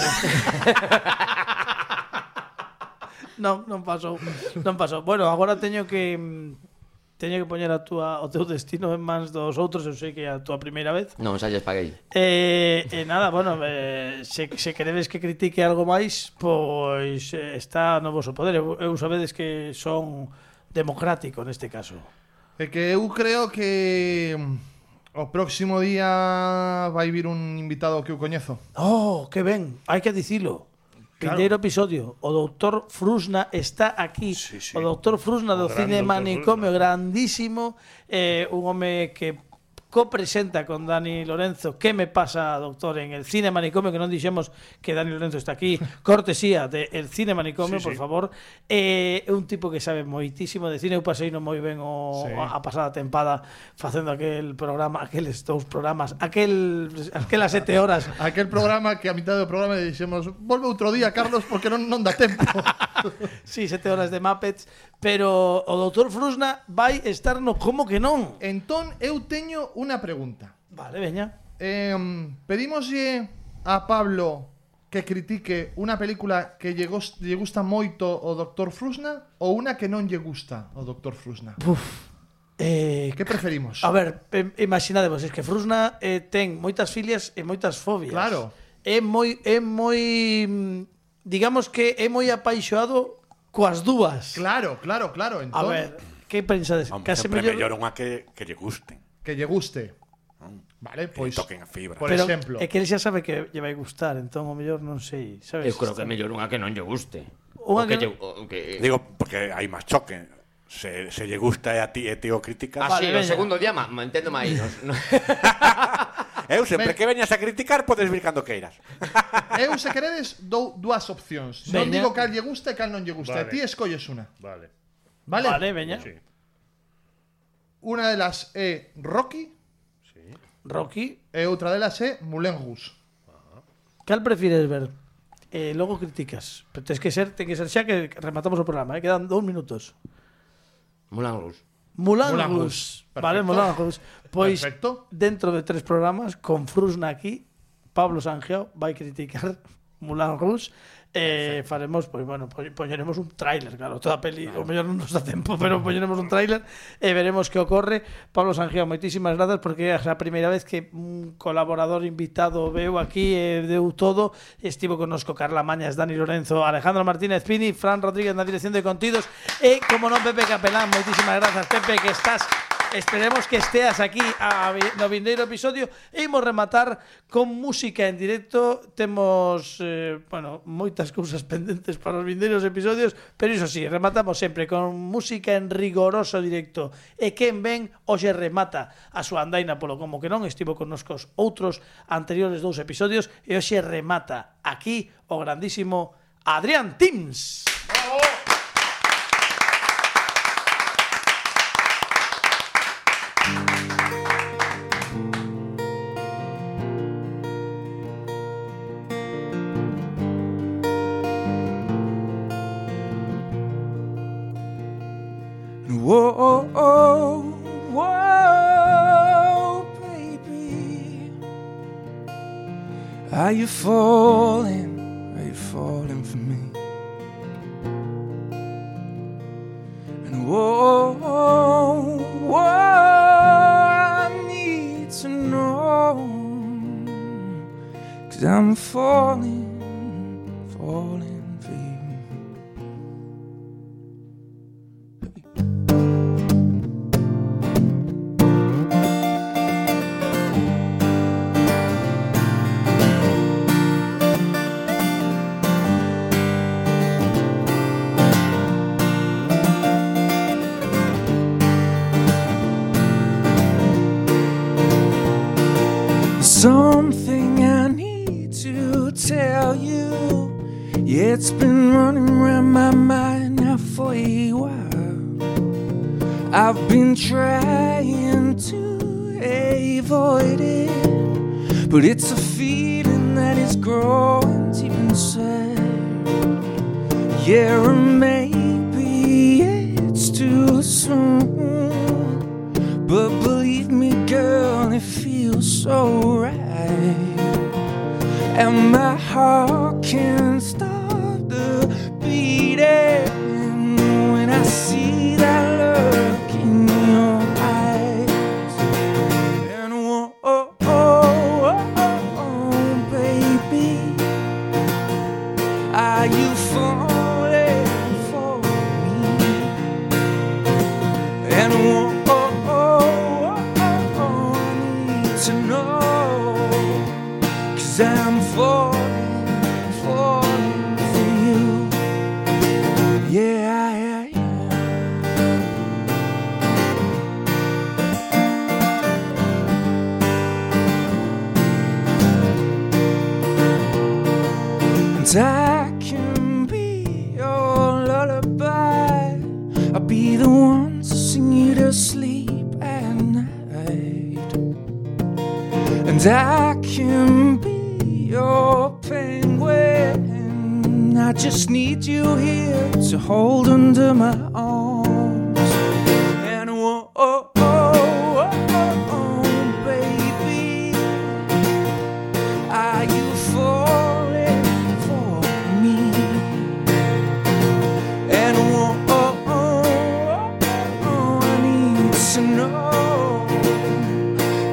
Speaker 2: Non, non pasou, non pasou. Bueno, agora teño que mm, teño que poñer a túa, o teu destino en mans dos outros, eu sei que é a túa primeira vez.
Speaker 5: non, xa lles paguei.
Speaker 2: E, e eh, nada, bueno, eh, se, se queredes que critique algo máis, pois eh, está no vosso poder. Eu, eu sabedes que son democrático neste caso.
Speaker 6: É que eu creo que mm, o próximo día vai vir un invitado que eu coñezo.
Speaker 2: Oh, que ben, hai que dicilo. Pindeiro episodio, o doutor Frusna está aquí.
Speaker 4: Sí, sí.
Speaker 2: O doutor Frusna do
Speaker 4: gran
Speaker 2: cine
Speaker 4: doutor
Speaker 2: manicomio,
Speaker 4: Frusna.
Speaker 2: grandísimo, eh, un home que copresenta con Dani Lorenzo ¿Qué me pasa, doctor? en el cine manicomio que non dixemos que Dani Lorenzo está
Speaker 4: (laughs)
Speaker 2: aquí cortesía de el cine manicomio por
Speaker 4: Sí, sí.
Speaker 2: favor eh, é un tipo que sabe moitísimo de cine eu pasei non moi ben o,
Speaker 6: Sí.
Speaker 2: a a pasada tempada facendo aquel programa aqueles dous programas aquel, aquelas sete horas
Speaker 4: (laughs)
Speaker 6: Aquel programa que a mitad do programa dixemos Volve outro día, Carlos, porque non, non
Speaker 5: (laughs)
Speaker 6: dá tempo
Speaker 2: Sí, sete horas de Muppets, pero o doutor Frusna vai estar no como que non.
Speaker 6: Eh. Entón, eu teño unha pregunta
Speaker 2: Vale, veña.
Speaker 6: eh, Pedimoslle a Pablo que critique unha película que lle, gos- lle gusta moito o Dr. Frusna ou unha que non lle gusta o Dr. Frusna?
Speaker 2: Eh,
Speaker 6: Que preferimos?
Speaker 2: a ver, em- imaginadevos, es que Frusna eh, ten moitas filias e moitas fobias.
Speaker 6: Claro.
Speaker 2: É moi é moi mm, digamos que é moi apaixoado coas dúas.
Speaker 6: Claro, claro,
Speaker 2: A
Speaker 6: claro entón,
Speaker 2: ver, que pensades?
Speaker 9: Vamos,
Speaker 2: Case
Speaker 9: sempre
Speaker 2: mellor
Speaker 9: mellor unha que, que lle gusten.
Speaker 6: Que lle guste Vale, pois
Speaker 9: toquen a fibra.
Speaker 6: Por
Speaker 2: Pero
Speaker 6: exemplo,
Speaker 2: é que el xa sabe que lle vai gustar, entón o mellor non sei, sabes?
Speaker 5: Eu creo que é mellor unha que non lle guste.
Speaker 2: Unha
Speaker 5: O que
Speaker 2: que
Speaker 5: lle,
Speaker 2: non-
Speaker 5: o que...
Speaker 9: Digo, porque hay más choque. Se, se le gusta e a ti eh, e te o criticas.
Speaker 5: Así,
Speaker 2: Vale,
Speaker 5: o
Speaker 2: veña.
Speaker 5: segundo día, ma, mantendo (laughs) máis. No, no,
Speaker 9: Eu sempre que veñas a criticar podes vir cando queiras.
Speaker 6: eu se queredes dou dúas opcións. Non
Speaker 2: Veña.
Speaker 6: digo cal lle gusta e cal non lle gusta.
Speaker 4: Vale.
Speaker 6: Ti escolles unha,
Speaker 4: Vale.
Speaker 6: vale?
Speaker 2: Vale, veña.
Speaker 4: Sí.
Speaker 6: Una de las é Rocky
Speaker 2: Rocky,
Speaker 6: e outra de las é Moulin Rouge.
Speaker 2: cal prefires ver? Eh, logo criticas. Pero tens que ser, ten que ser xa que rematamos o programa, eh? quedan dous minutos.
Speaker 5: Mulan Rouge.
Speaker 2: Mulan
Speaker 6: Mulan
Speaker 2: Rouge.
Speaker 6: Rouge.
Speaker 2: Vale,
Speaker 6: Perfecto.
Speaker 2: Mulan Rouge. Pois
Speaker 6: Perfecto.
Speaker 2: dentro de tres programas con Frusna aquí, Pablo Sangiao vai criticar (laughs) Mulan Rouge. Eh, faremos, pois bueno, po- poñeremos un tráiler, claro, toda peli, o mellor non nos dá tempo, pero poñeremos un tráiler e veremos que ocorre. Pablo Sangiao, moitísimas grazas porque é a primeira vez que un colaborador invitado veu aquí e deu todo. Estivo connosco Carla Mañas, Dani Lorenzo, Alejandro Martínez Pini, Fran Rodríguez na dirección de contidos e, como non, Pepe Capelán. Moitísimas grazas, Pepe, que estás Esperemos que esteas aquí a, no vindeiro episodio e imos rematar con música en directo. Temos, eh, bueno, moitas cousas (laughs) pendentes para os vindeiros episodios, pero iso sí, rematamos sempre con música en rigoroso directo. E quen ven hoxe remata a súa andaina polo como que non estivo connosco os outros anteriores dous episodios e hoxe remata aquí o grandísimo Adrián Tims.
Speaker 10: Whoa, oh, whoa, baby. Are you falling? Are you falling for me? And whoa, oh, whoa, I need to know. Cause I'm falling, falling for you. Something I need to tell you. Yeah, it's been running around my mind now for a while. I've been trying to avoid it, but it's a feeling that is growing deep inside. Yeah, or maybe it's too soon. But believe me, girl, it feels so right. And my heart can't stop the beating when I see that look in your eyes. And whoa, oh, oh, oh, oh, baby, are you falling for me? And oh, oh, oh, oh, oh, I need to know. Cause I'm falling, falling for you. Yeah, yeah, yeah. And I can be your lullaby. I'll be the one to sing you to sleep at night. And I can be your penguin. I just need you here to hold under my arms. And whoa, oh, oh, oh, oh, oh baby. Are you falling for me? And oh, oh, oh, oh, I need to know.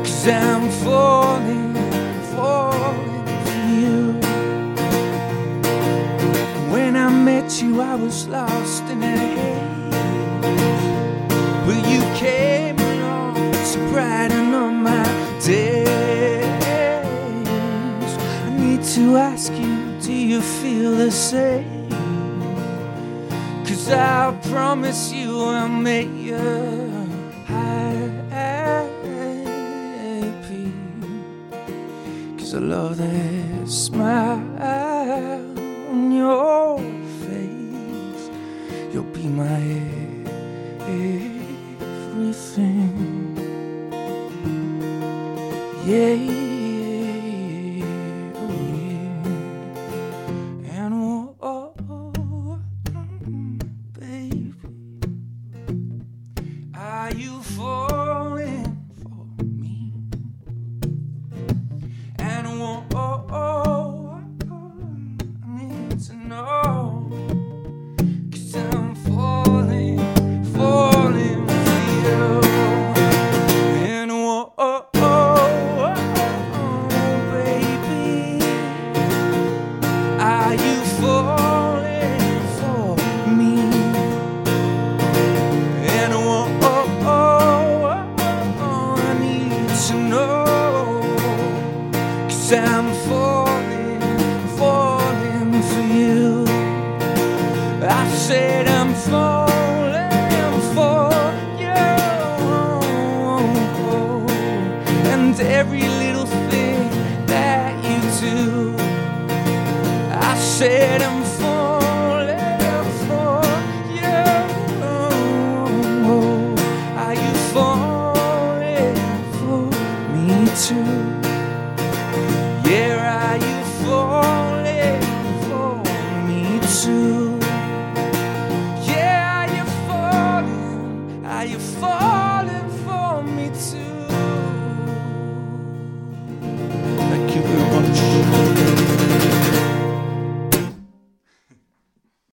Speaker 10: Cause I'm falling, falling for you. When I met you, I was lost in a haze. But you came along to brighten up my days. I need to ask you, do you feel the same? Cause I promise you I'll make you happy. Cause I love that smile on your face. You'll be my everything. Yeah, yeah, yeah. And oh, oh, mm, baby, are you falling for me? And oh, oh, oh, I need to know. Cause I'm falling, falling for you. And oh, oh, oh, oh, oh, baby, are you falling for me? And oh, oh, oh, oh, oh, I need to know, cause I'm falling, falling for you. I said I'm falling for you, and every little thing that you do. I said I'm falling for you. Are you falling for me too? Yeah, are you falling for me too?